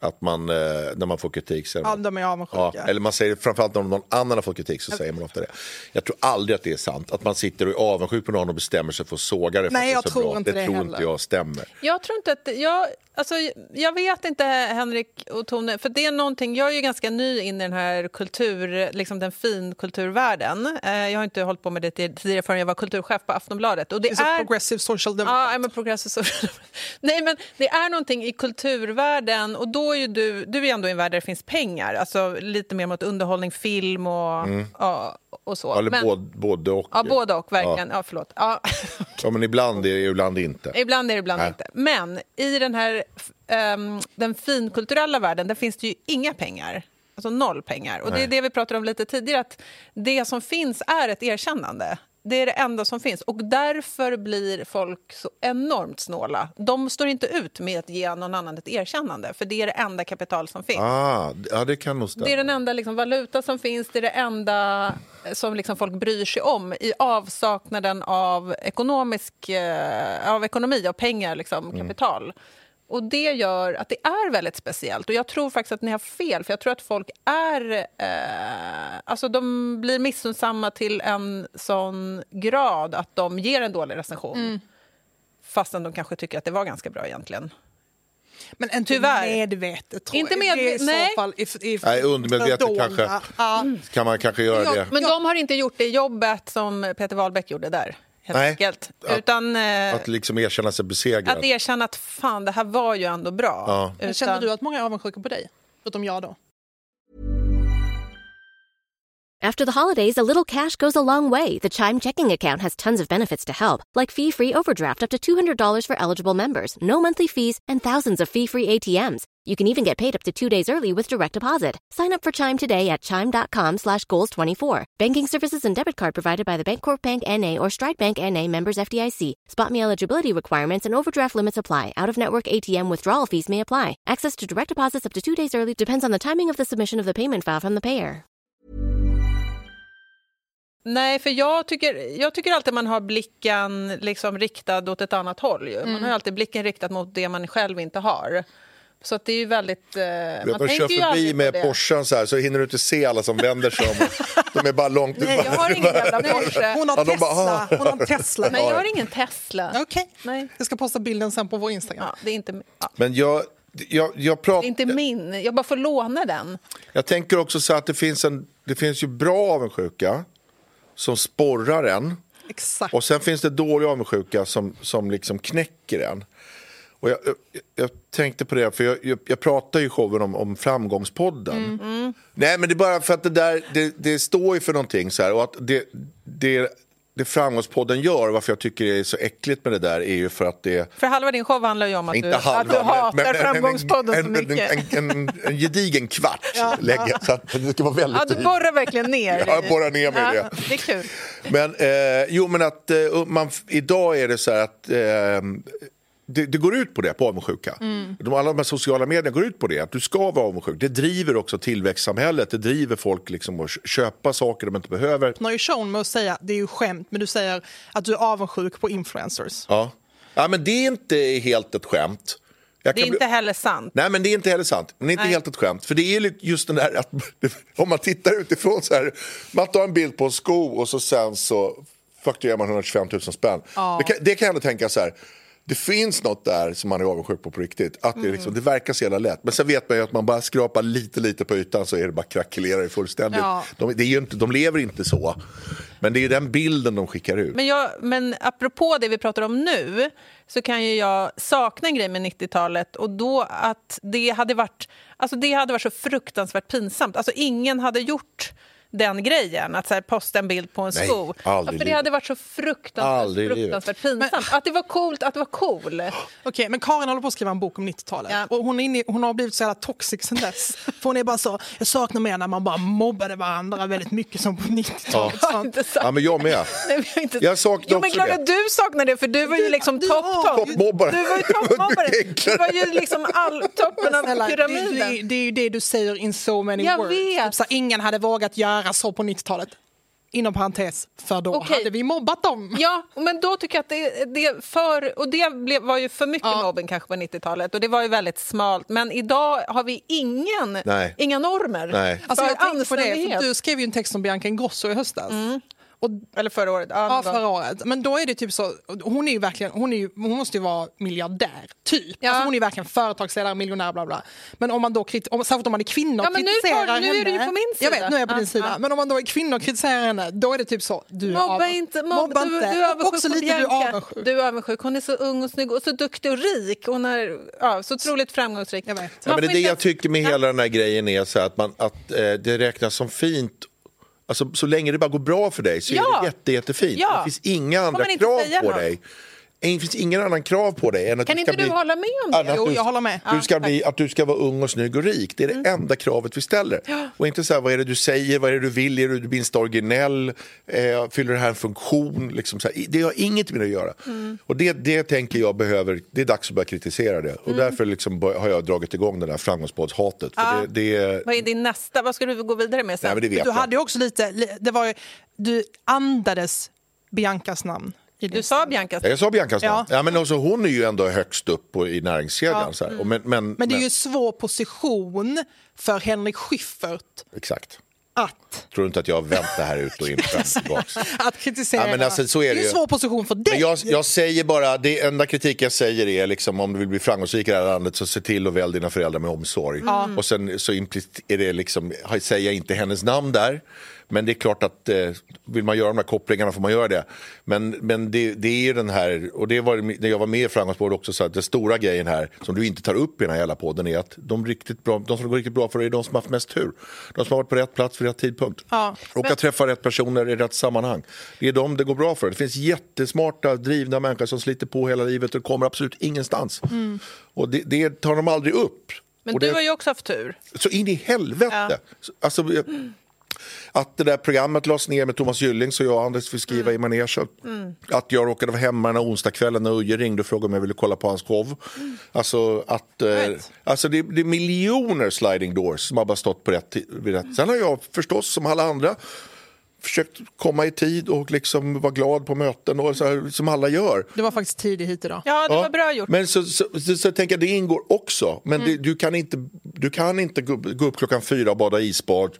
Att man, eh, när man får kritik säger
Ja,
man...
de är avundsjuka.
Ja, eller man säger det framförallt om någon annan har fått kritik så säger man ofta det. Jag tror aldrig att det är sant. Att man sitter och är avundsjuk på någon och bestämmer sig för att såga det för
Nej,
att det är
jag
så
tror
bra.
inte
det
det
tror
heller.
inte jag stämmer.
Jag tror inte att... Jag, alltså, jag vet inte, Henrik och Tone. För det är någonting, jag är ju ganska ny in i den här kultur, liksom den finkulturvärlden. Eh, Jag har inte hållit på med det tidigare förrän jag var kulturchef på Aftonbladet. Och det
Det är så
är
progressive social democracy.
Ja, I'm a progressive social [LAUGHS] Nej, men det är någonting i kulturvärlden och då är ju du, du är ändå i en värld där det finns pengar, alltså lite mer mot underhållning, film och, ja, och så.
Eller
men,
både, både och.
Ja, både och, verkligen. Ja, förlåt. Ja. [LAUGHS]
Ja, men ibland är det, ibland inte.
Ibland är det, ibland
Nej.
inte. Men i den här f- ehm, den finkulturella världen, där finns det ju inga pengar. Alltså noll pengar. Och det är det vi pratade om lite tidigare, att det som finns är ett erkännande. Det är det enda som finns. Och därför blir folk så enormt snåla. De står inte ut med att ge någon annan ett erkännande, för det är det enda kapital som finns.
Ah, ja, det kan nog stämma.
Det är den enda liksom, valuta som finns, det är det enda som liksom, folk bryr sig om i avsaknaden av, ekonomisk, eh, av ekonomi, av pengar, liksom, kapital. Och Det gör att det är väldigt speciellt. Och Jag tror faktiskt att ni har fel, för jag tror att folk är... Eh, alltså de blir missunnsamma till en sån grad att de ger en dålig recension fastän de kanske tycker att det var ganska bra egentligen.
Men inte
Tyvärr.
medvetet, tror
Inte
jag. det är
medvetet,
i
nej.
så fall... If, if,
Nej, undermedvetet
fördolda.
kanske.
Ja. Mm.
Kan man kanske göra
Ja,
det?
Men de har inte gjort det jobbet som Peter Wahlbeck gjorde där. Helt
Nej.
enkelt.
Att-
Utan eh,
Att
att,
liksom erkänna sig besegrad.
erkänna att fan, det här var ju ändå bra.
Ja.
Utan,
Men känner du att många är avundsjuka på dig? Utom jag då?
After the holidays, a little cash goes a long way. The Chime checking account has tons of benefits to help, like fee free overdraft up to $200 for eligible members, no monthly fees, and thousands of fee free ATMs. You can even get paid up to two days early with direct deposit. Sign up for Chime today at chime.com slash goals 24. Banking services and debit card provided by the Bancorp Bank NA or Stride Bank NA members FDIC. Spot me eligibility requirements and overdraft limits apply. Out of network ATM withdrawal fees may apply. Access to direct deposits up to two days early depends on the timing of the submission of the payment file from the payer.
Nej, för jag tycker, jag tycker alltid man har blicken liksom riktad åt ett annat håll. Ju. Man
Mm.
har ju alltid blicken riktad mot det man själv inte har. Så att det är ju väldigt... Eh,
Du vet,
man
de kör
tänker ju aldrig
förbi
på
med
det.
Porschen så här, så hinner du inte se alla som vänder sig om. De är bara långt...
Nej, jag har ingen jävla Porsche.
Hon har
Ja, de
Tesla.
bara, ah.
Hon har en Tesla.
Men jag har ingen Tesla.
Okej.
Nej.
Jag ska posta bilden sen på vår Instagram.
Ja, det är inte, ja,
Men jag, jag, jag,
det
pratar,
är inte min. Jag bara får låna den.
jag tänker också så här att det finns, en, det finns ju bra avundsjuka som sporrar en.
Exakt.
Och sen finns det dålig avundsjuka som, som liksom knäcker en. Och jag, jag, jag tänkte på det, för jag, jag, jag pratar ju i showen om, om Framgångspodden.
Mm.
Nej, men det är bara för att det där, det, det står ju för någonting så här. Och att det, det, det Framgångspodden gör, varför jag tycker det är så äckligt med det där, är ju för att det...
För halva din show handlar ju om att,
Inte
du,
halva,
att du hatar Framgångspodden
en,
så
en,
mycket.
En, en, en, en gedigen kvart lägger jag, så att det ska vara väldigt
ja, du
tydligt.
borrar verkligen ner
Ja, jag
dig.
borrar ner mig i det.
är kul.
Men, eh, jo, men att eh, man, idag är det så här att eh, det, det går ut på det, på avundsjuka.
Mm.
De, alla de här sociala medierna går ut på det, att du ska vara avundsjuk. Det driver också tillväxtsamhället, det driver folk liksom att köpa saker de inte behöver.
öppnar ju showen med att säga det är ju skämt, men du säger att du är avundsjuk på influencers.
Ja. ja, men det är inte helt ett skämt. Jag
Det är
kan bli-
inte heller sant.
Nej, men det är inte heller sant. Men det är inte
Nej.
helt ett skämt. För det är ju just den där att [LAUGHS] om man tittar utifrån så här. Man tar en bild på en sko och så sen så fakturerar man 125 000 spänn. Det, kan, det kan jag ändå tänka så här. Det finns något där som man är avundsjuk på på riktigt. Att
Mm.
det, liksom, det verkar så jävla lätt. Men sen vet man ju att man bara skrapar lite, lite på ytan så är det bara krackelerar det fullständigt.
Ja.
De, det är ju inte, de lever inte så. Men Men det är ju den bilden de skickar ut.
Men, jag, men apropå det vi pratar om nu så kan ju jag sakna en grej med 90-talet och då att det hade varit, alltså det hade varit så fruktansvärt pinsamt. Alltså ingen hade gjort den grejen, att så här posta en bild på en
Nej,
sko.
aldrig
Ja,
i
för det
livet.
hade varit så fruktansvärt,
Aldrig i livet.
fruktansvärt pinsamt. Att det var coolt att vara [GASPS] cool.
Okej, men Karin håller på att skriva en bok om 90-talet.
Ja.
Och hon, är inne, i- hon har blivit så jävla toxic sen dess. För hon är bara så, jag saknar mer när man bara mobbade varandra väldigt mycket som på 90-talet.
Jag har
sånt.
inte sagt-
Ja, men jag med.
[LAUGHS] Nej, men jag har inte...
Jag saknar
jo, men
också
klart
det.
att du saknar det, för du var ju liksom
du har-
topp-topp.
Toppmobbare.
Du
[LAUGHS]
var ju toppmobbare.
Det var mycket
Du var ju liksom all, toppen
Snälla,
av
det, det,
pyramiden.
det är ju det du säger in so many
Jag
words.
vet.
Typ Så här, ingen hade vågat göra så på 90-talet. Inom parentes, för då
Okej.
hade vi mobbat dem.
Ja, men då tycker jag att det, det är för... Och det blev, var ju för mycket mobbing kanske på 90-talet och det var ju väldigt smalt. Men idag har vi ingen,
Nej.
inga normer
Nej.
för
Alltså, jag tänkte på det,
anständighet.
för du skrev ju en text om Bianca Ingrosso i höstas. Och
Eller förra året. Mm. Ja,
Ja,
någon gång.
förra året. Men då är det typ så, hon är ju verkligen, hon, är ju, hon måste ju vara miljardär, typ.
Ja.
Alltså hon är ju verkligen företagsledare, miljonär, bla bla. Men om man då, kriti- om, särskilt om man är kvinna och
Ja, men nu
kritiserar
tar- nu
henne.
är du ju på min
Jag
sida.
vet, nu är jag på
Ja,
din sida.
ja.
Men om man då är kvinna och kritiserar henne, då är det typ så, du är
Mobba
avundsjuk.
inte. Mobba,
Mobba
du,
inte.
Du är avundsjuk
Också
på
lite du
Bianca.
är avundsjuk.
Du är avundsjuk. Hon är så ung och snygg och så duktig och rik. Hon är ja, så otroligt framgångsrik.
Jag vet.
Ja, men
får
det är det
inte-
jag tycker med
Ja.
hela den här grejen är så här att, man, att eh, det räknas som fint. Alltså, så länge det bara går bra för dig så
Ja.
är det jätte, jättefint.
Ja.
Det finns inga andra
man inte
krav
säga
på
något.
dig. Det finns ingen annan krav på dig än att
Kan
du
inte
ska
du
bli...
hålla med om det?
Annat
Jo,
du-
jag håller med.
Du ska bli, att du ska vara ung och snygg och rik. Det är det
Mm.
enda kravet vi ställer. Och inte så här, vad är det du säger, vad är det du vill, är du du blir inte originell, eh, fyller det här en funktion? Liksom så här. I- Det har inget med det att göra.
Mm.
Och det, det tänker jag behöver, det är dags att börja kritisera det.
Mm.
Och därför liksom bör- har jag dragit igång det där framgångspoddshatet. För det, det,
Vad är din nästa? Vad ska du gå vidare med sen?
nej, men det vet
Du
jag.
hade ju också lite, li- det var ju, du andades Biancas namn. i din-
Du sa Bianca.
Ja, Jag sa Biancas namn.
Ja.
Ja. men också, hon är ju ändå högst upp på, i näringskedjan. Så här. Och Men, men,
Mm. Men det är ju en svår position för Henrik Schyffert
Exakt.
att
Tror du inte att jag har vänt det här ut och
[LAUGHS]
in fram och tillbaks?
att kritisera.
Ja, men alltså, så är
det
det
är en
ju.
svår position för dig.
Men jag, jag säger bara, det enda kritik jag säger är liksom, om du vill bli framgångsrik i det här landet så se till att välja dina föräldrar med omsorg. Och sen så impli- är det liksom, säger jag inte hennes namn där. Men det är klart att eh, vill man göra de här kopplingarna får man göra det. Men, men det, det är ju den här, och det var när jag var med i Framgångspodd också, så att den stora grejen här som du inte tar upp i den här hela podden är att de, riktigt bra, de som går riktigt bra för det är de som har haft mest tur. De som har varit på rätt plats vid rätt tidpunkt.
Ja,
Råkar träffa rätt personer i rätt sammanhang. Det är de det går bra för. Det finns jättesmarta, drivna människor som sliter på hela livet och kommer absolut ingenstans. Och det, det tar de aldrig upp.
Mm. Men
och det,
du har ju också haft tur.
Så in i helvete! Så- Alltså, jag- Att det där programmet lades ner med Thomas Gylling så jag och Anders fick skriva i manegen. Att jag råkade vara hemma den här onsdagskvällen när Uje ringde och frågade om jag ville kolla på hans show. Alltså, att, eh, alltså det, det är miljoner sliding doors som har bara stått på rätt, ti- vid rätt. Sen har jag förstås, som alla andra, försökt komma i tid och liksom vara glad på möten och så här, som alla gör.
Det var faktiskt tidig hit idag.
Ja, det
Ja,
var bra gjort. Mm.
Men så, så, så, så, tänker jag, det ingår också. Men det, du kan inte, du kan inte gå, gå upp klockan fyra och bada isbad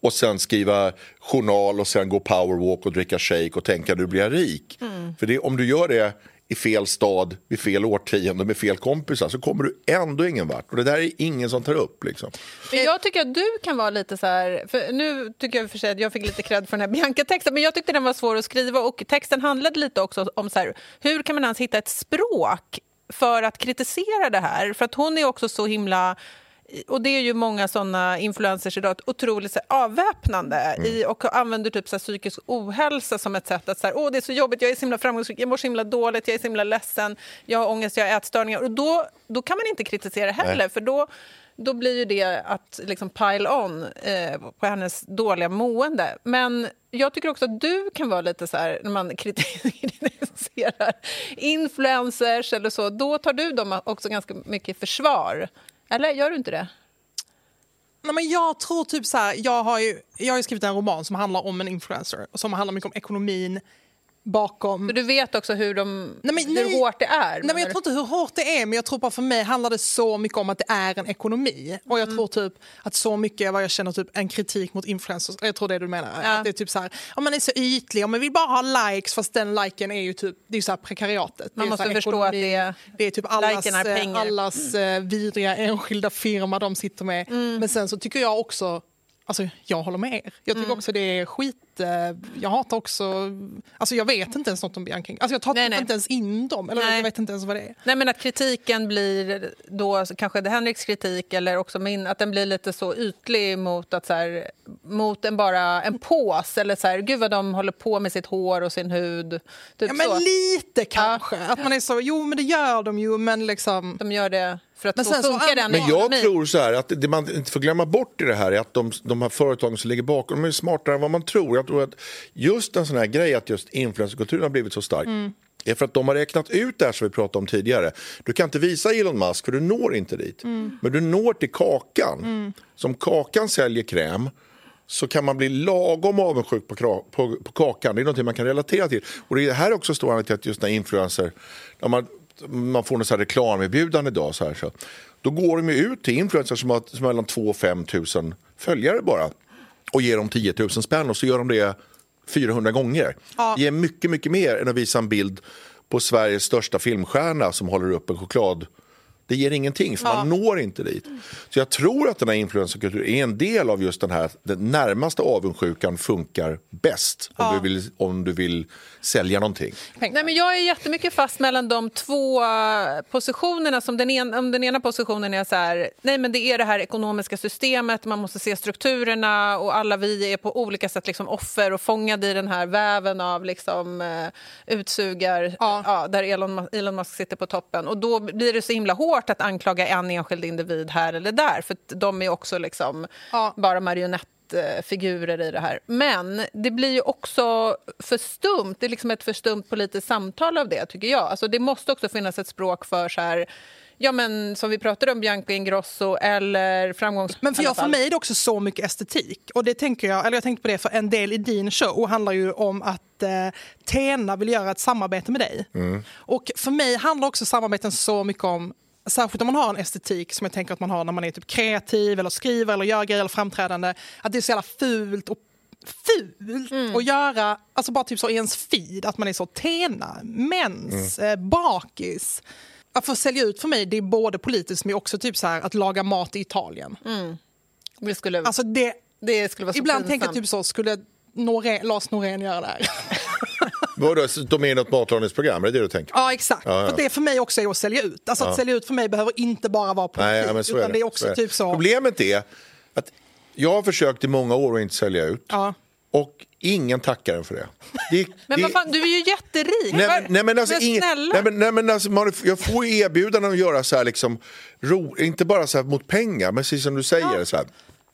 och sen skriva journal och sen gå powerwalk och dricka shake och tänka du blir jag rik.
Mm.
För det, om du gör det i fel stad, vid fel årtionde, med fel kompisar så kommer du ändå ingen vart. Och det där är ingen som tar upp. Liksom.
Men jag tycker att du kan vara lite så här... För nu tycker jag för sig att jag fick lite cred för den här [LAUGHS] Bianca-texten men jag tyckte den var svår att skriva och texten handlade lite också om så här, hur kan man ens hitta ett språk för att kritisera det här? För att hon är också så himla... Och det är ju många såna influencers idag, ett otroligt så här, avväpnande i, och använder typ så här, psykisk ohälsa som ett sätt att så här, åh det är så jobbigt, jag är så himla framgångsrik, jag mår så himla dåligt, jag är så himla ledsen, jag har ångest, jag har ätstörningar. Och då, då kan man inte kritisera heller, för då, då blir ju det att liksom pile on eh, på hennes dåliga mående. Men jag tycker också att du kan vara lite så här, när man kriti- kritiserar influencers eller så, då tar du dem också ganska mycket i försvar. Eller gör du inte det?
Nej, men jag tror typ så här, jag har ju jag har ju skrivit en roman som handlar om en influencer och som handlar mycket om ekonomin bakom.
För du vet också hur, de,
Nej, men
hur
nej.
hårt det är.
Nej, men jag tror inte hur hårt det är, men jag tror bara för mig handlar det så mycket om att det är en ekonomi. Och
Mm.
jag tror typ att så mycket vad jag känner typ en kritik mot influencers, jag tror det är det du menar. Att det är typ så här, om man är så ytlig, om man vill bara ha likes fast den liken är ju typ, det är ju så här prekariatet.
Man
det är
måste
så här
förstå
ekonomi.
att det är-
det är typ allas,
liken är
eh,
pengar. Mm.
allas eh, vidriga enskilda firma de sitter med. Men sen så tycker jag också Alltså, jag håller med er. Jag tycker
Mm.
också det är skit... Eh, jag hatar också... Alltså, jag vet inte ens något om Bianca Ingrosso. Alltså, jag tar
Nej, nej.
inte ens in dem. Eller
Nej.
jag vet inte ens vad det är.
Nej, men att kritiken blir då kanske det är Henriks kritik eller också min, att den blir lite så ytlig mot att så här, mot en bara en pås eller så här, gud vad de håller på med sitt hår och sin hud. Typ
Ja, men
så.
lite kanske. Att man är så, jo men det gör de ju, men liksom...
De gör det för att
Men
så
sen så
funkar
an-
den
Men jag
ekonomin.
tror så här att det man inte får glömma bort i det här är att de, de här företagen som ligger bakom, de är smartare än vad man tror. Jag tror att just en sån här grej att just influencerkulturen har blivit så stark är för att de har räknat ut det här som vi pratade om tidigare. Du kan inte visa Elon Musk för du når inte dit. Men du når till Kakan. Som Kakan säljer kräm så kan man bli lagom avundsjuk på, kra- på, på kakan. Det är någonting man kan relatera till. Och Det här är också stor anledning till att just när influencer... När man, man får något så här reklamerbjudande idag. Så här, så, då går de ju ut till influencers som har, som har mellan 2 och 5 000 följare bara och ger dem 10 000 spänn och så gör de det 400 gånger. Det ger mycket, mycket mer än att visa en bild på Sveriges största filmstjärna som håller upp en choklad det ger ingenting, för man når inte dit. Så jag tror att den här influencerkulturen är en del av just den här, den närmaste avundsjukan funkar bäst om, du, vill, om du vill sälja någonting.
Nej, men jag är jättemycket fast mellan de två eh, positionerna. Som den, en, om den ena positionen är så här, nej men det är det här ekonomiska systemet, man måste se strukturerna och alla vi är på olika sätt liksom offer och fångade i den här väven av liksom, eh, utsugar ja. där Elon, Mu- Elon Musk sitter på toppen. Och då blir det så himla hårt att anklaga en enskild individ här eller där för att de är också liksom
Ja.
bara marionetter eh, figurer i det här. Men det blir ju också för stumt. Det är liksom ett för stumt politiskt samtal av det, tycker jag. Alltså, det måste också finnas ett språk för så här, ja, men, som vi pratade om, Bianca Ingrosso eller framgångs...
Mm. Men för,
i alla
jag, för
fall.
mig är det också så mycket estetik. Och det tänker jag, eller jag tänkte på det för en del i din show handlar ju om att eh, Tena vill göra ett samarbete med dig. Och för mig handlar också samarbeten så mycket om Särskilt om man har en estetik som jag tänker att man har när man är typ kreativ eller skriver eller gör grejer eller framträdande. Att det är så jävla fult och fult
Mm.
att göra, alltså bara typ så i ens feed, att man är så Tena, mens, eh, bakis. Att få sälja ut för mig, det är både politiskt men också typ så här att laga mat i Italien.
Det skulle,
Alltså det,
det skulle vara så
ibland tänker
pinsamt.
jag typ så, skulle Norén, Lars Norén göra det här?
Vadå, så de är i något matlagningsprogram, är det det du tänker?
[LAUGHS] ja, exakt.
Ja, ja.
För det för mig också är att sälja ut. Alltså att sälja ut för mig behöver inte bara vara politik,
Nej, ja, men så
utan
är det.
det är också
så är det.
typ så...
Problemet är att jag har försökt i många år att inte sälja ut
Ja.
och ingen tackar en för det. det
Men vad
det-
fan, du är ju jätterik!
Nej, men- nej, men alltså,
men
ingen-
snälla!
nej, men, nej, men alltså, man, jag får ju erbjudanden att göra så här, liksom, ro, inte bara så här mot pengar, men precis som du säger. Så här,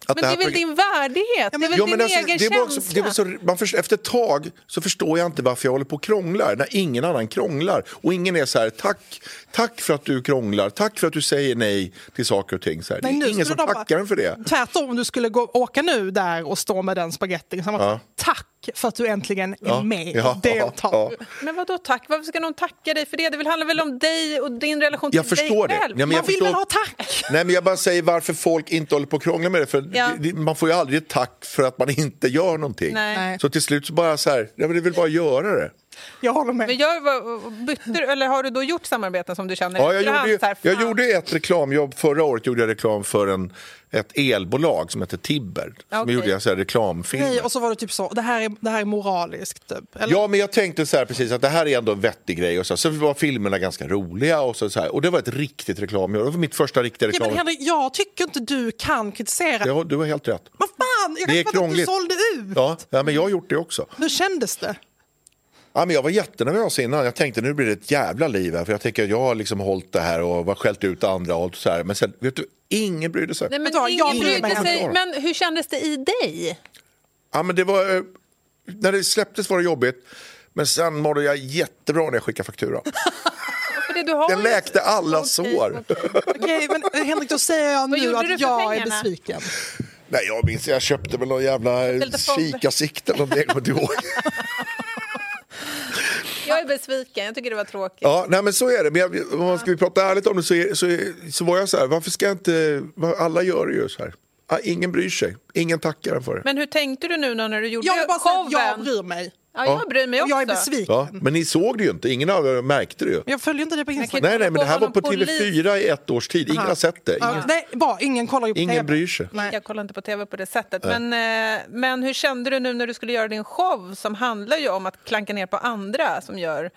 att
men det är
här
väl
program-
din värdighet? det är väl
Jo,
din
men alltså,
egen
det var
känsla?
också, det var så, man först, Efter ett tag så förstår jag inte varför jag håller på och krånglar när ingen annan krånglar. Och ingen är så här, tack, tack för att du krånglar, tack för att du säger nej till saker och ting. Så här,
Nej,
det
nu
är ingen
skulle
som
de bara-
tackar en
[LAUGHS]
för det.
Tvärtom, du skulle gå, åka nu där och stå med den spagettin. Så man-
Ja.
Tack för att du äntligen är med och
ja,
deltar.
ja.
Men vadå tack? Varför ska någon tacka dig för det? Det väl handlar väl om dig och din relation till
Jag förstår
dig
det.
själv?
Ja, men jag
Man vill
förstår-
väl ha tack?
Nej, men jag bara säger varför folk inte håller på och krånglar med det. För
Ja.
det- det- Man får ju aldrig ett tack för att man inte gör någonting.
Nej.
Nej.
Så till slut så bara så här, nej, men det vill bara göra det.
Jag håller med.
Men gör, vad- bytte, du- eller har du då gjort samarbeten som du känner
Ja, jag,
efterhand
gjorde, ju-
så här,
jag
fan?
gjorde ett reklamjobb förra året gjorde jag reklam för en, ett elbolag som heter Tibber. Som
Okej.
gjorde en så här reklamfilm.
Nej, och så var det typ så, det här är, det här är moraliskt. Typ. Eller?
Ja, men jag tänkte så här precis att det här är ändå en vettig grej. Och så, så var filmerna ganska roliga och så, så här. Och det var ett riktigt reklamjobb. Det var mitt första riktiga
Ja, men
reklam.
Henrik, jag tycker inte du kan kritisera.
Ja, du har helt rätt.
Vad fan, jag kan
Det är
inte fatta att du
krångligt.
sålde ut.
Ja, ja, men jag har gjort det också.
Hur kändes det?
Ja, men jag var jättenervös innan. Jag tänkte nu blir det ett jävla liv här. För jag tänker jag har liksom hållit det här och var skällt ut andra och så här. Men sen, vet du, ingen brydde sig.
Nej, men,
Vet du vad, jag
ingen
bryr mig
brydde
inte
sig,
om.
men hur kändes det i dig?
Ja, men det var, eh, när det släpptes var det jobbigt. Men sen mådde jag jättebra när jag skickade fakturan.
För det du har
Den
ju-
läkte alla
Okej,
sår.
okej.
Okej, men eh, [LAUGHS] Henrik, då säger jag nu
gjorde
att
du
jag
för
är
pengarna?
besviken.
Nej, jag minns, jag köpte väl någon jävla eh,
lite fonder.
kikasikt eller något, jag kommer inte ihåg. [LAUGHS]
Jag är besviken, jag tycker det var tråkigt.
Ja, nej, men så är det. Men jag, om man ska vi prata ärligt om det så, är, så, är, så var jag så här, varför ska jag inte, vad- alla gör det ju så här. Ja, Ingen bryr sig, ingen tackar en för det.
Men hur tänkte du nu då när du gjorde
Jag vill bara säga att
showen?
jag bryr mig.
Ja, jag bryr mig
Och
också.
jag är besviken.
Ja, men ni såg det ju inte, ingen av er märkte det ju.
Jag följer inte det på Instagram.
kan-
Nej, nej, men det här var på
Honom polis.
TV4 i ett års tid, ingen har sett det.
Ja,
Ingen,
Nej, bra, ingen kollar ju på
ingen
TV.
bryr sig.
Nej.
Jag kollar inte på tv på det sättet. Men, eh, men hur kände du nu när du skulle göra din show som handlar ju om att klanka ner på andra som gör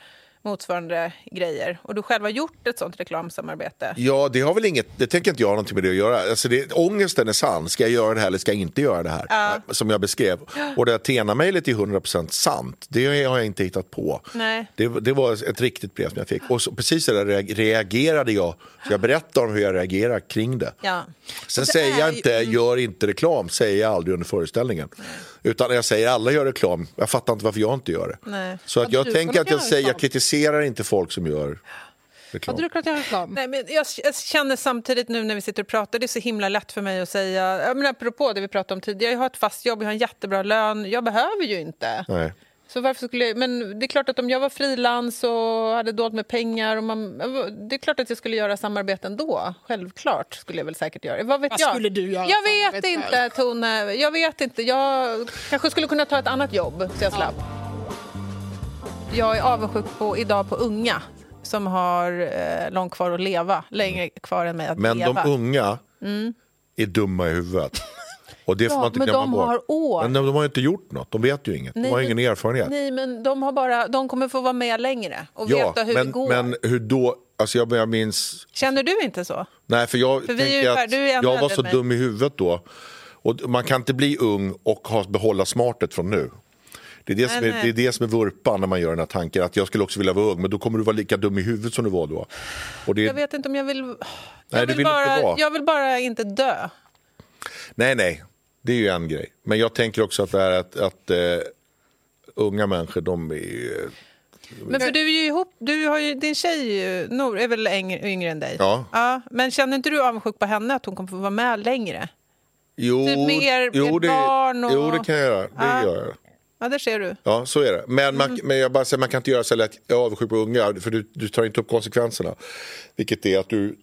motsvarande grejer? Och du själv har gjort ett sånt reklamsamarbete.
Ja, det har väl inget, det tänker inte jag ha någonting med det att göra. Alltså det, ångesten är sann, ska jag göra det här eller ska jag inte göra det här? Eh, Som jag beskrev. Och det här Tena-mejlet är 100% sant, det har jag inte hittat på.
Nej.
Det, det var ett riktigt brev som jag fick. Och så, precis så där reag- reagerade jag, så jag berättar om hur jag reagerar kring det.
Ja.
Sen säger jag inte, gör inte reklam, säger jag aldrig under föreställningen. Utan jag säger, alla gör reklam, jag fattar inte varför jag inte gör det.
Nej.
Så att
Hade
jag
du
tänker
kunnat
att jag
göra
säger, jag
reklam?
kritiserar inte folk som gör reklam.
Hade du kunnat göra reklam?
Nej, men jag, jag känner samtidigt nu när vi sitter och pratar, det är så himla lätt för mig att säga, jag menar, apropå det vi pratade om tidigare, jag har ett fast jobb, jag har en jättebra lön, jag behöver ju inte.
Nej.
Så varför skulle jag, men det är klart att om jag var frilans och hade dolt med pengar... Och man, det är klart att jag skulle göra samarbeten då. Självklart skulle jag väl säkert göra. Vad, vet
Vad
jag?
skulle du göra
Jag vet
samarbete
inte, Tone. Jag vet inte. Jag kanske skulle kunna ta ett annat jobb så jag slapp. Jag är avundsjuk på, idag på unga som har eh, långt kvar att leva. Längre kvar än mig att
Men
leva.
de unga är dumma i
[LAUGHS]
huvudet. Och det
Mm.
får
Ja,
man inte
men
glömma
de
bort.
har år.
Men de, de har ju inte gjort något, de vet ju inget. De
Nej,
har
men-
ingen erfarenhet.
Nej, men de, har bara, de kommer få vara med längre och veta hur
men,
det går.
men hur då? Alltså jag, jag minns
Känner du inte så?
Nej, för jag
För vi är
tänker
ju
att
ungefär- du är ännu
jag var
äldre
så
än mig.
dum i huvudet då. Och man kan inte bli ung och ha, behålla smartet från nu. Det är det, som är,
nej.
det är det som är vurpan när man gör den här tanken. Att jag skulle också vilja vara ung, men då kommer du vara lika dum i huvudet som du var då. Och det,
Jag vet inte om jag vill...
Nej,
jag,
du
vill
vill inte
bara,
vara.
jag vill bara inte dö.
Nej, nej, det är ju en grej. Men jag tänker också att det här att, att eh, unga människor, de är ju... eh,
Men för du är ju ihop, du har ju, din tjej är ju- Nor är väl yngre, yngre än dig?
Ja.
Men känner inte du avundsjuk på henne att hon kommer få vara med längre?
Jo,
Typ mer- mer barn och-
jo det kan jag göra. Det
Ja. Mm.
gör jag.
Ja, där ser du.
Ja, så är det. Men, man, men jag bara säger, man kan inte göra så lätt, jag är avundsjuk på unga, för du, du tar inte upp konsekvenserna. Vilket är att du,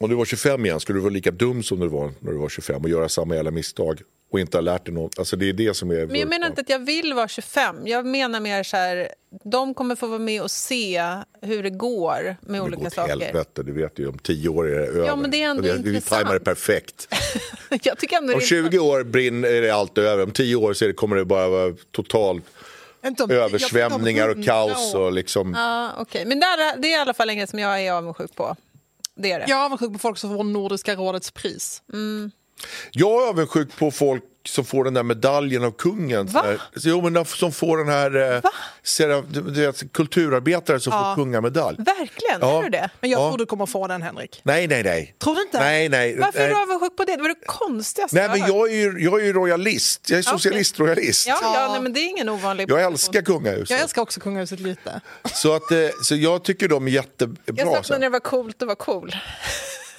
om du var 25 igen, skulle du vara lika dum som du var när du var 25 och göra samma jävla misstag och inte ha lärt dig något. Alltså det är det som är...
Men jag menar inte att jag vill vara 25. Jag menar mer så här, de kommer få vara med och se hur det går med
det
olika
går åt
saker.
helvete, du vet ju om 10 år är det över.
men det är ändå
Och vi
intressant.
tajmar det perfekt.
[LAUGHS] jag tycker ändå
Om
det är
20 år brin- är det allt över, om 10 år så är det, kommer det bara vara total
Inte om-
översvämningar
jag vet
och
inte om
kaos.
hundra år.
Och liksom,
Ja, okej. Men där, det är i alla fall en grej som jag är avundsjuk på. Det är det.
Jag är avundsjuk på folk som får Nordiska rådets pris.
Jag är avundsjuk på folk som får den där medaljen av kungen.
Va?
Sådär. Så, Jo, men de som får den här... Eh, sera- du, du vet, kulturarbetare som får kungamedalj.
Verkligen,
Ja.
är du det?
Men jag
Ja.
tror du kommer få den, Henrik.
Nej, nej, nej.
Tror du inte?
Nej, nej.
Varför är
nej.
du avundsjuk på det? Det var det konstigaste
Nej, men
har hört.
jag är ju, jag är ju royalist. Jag är
okej.
socialist-royalist.
Ja, ja nej, men det är ingen ovanlig
Jag
position.
älskar kungahuset.
Jag älskar också kungahuset lite.
Så, att, eh, så jag tycker de är
Jag
jättebra.
saknar
sen.
när det var coolt att vara cool.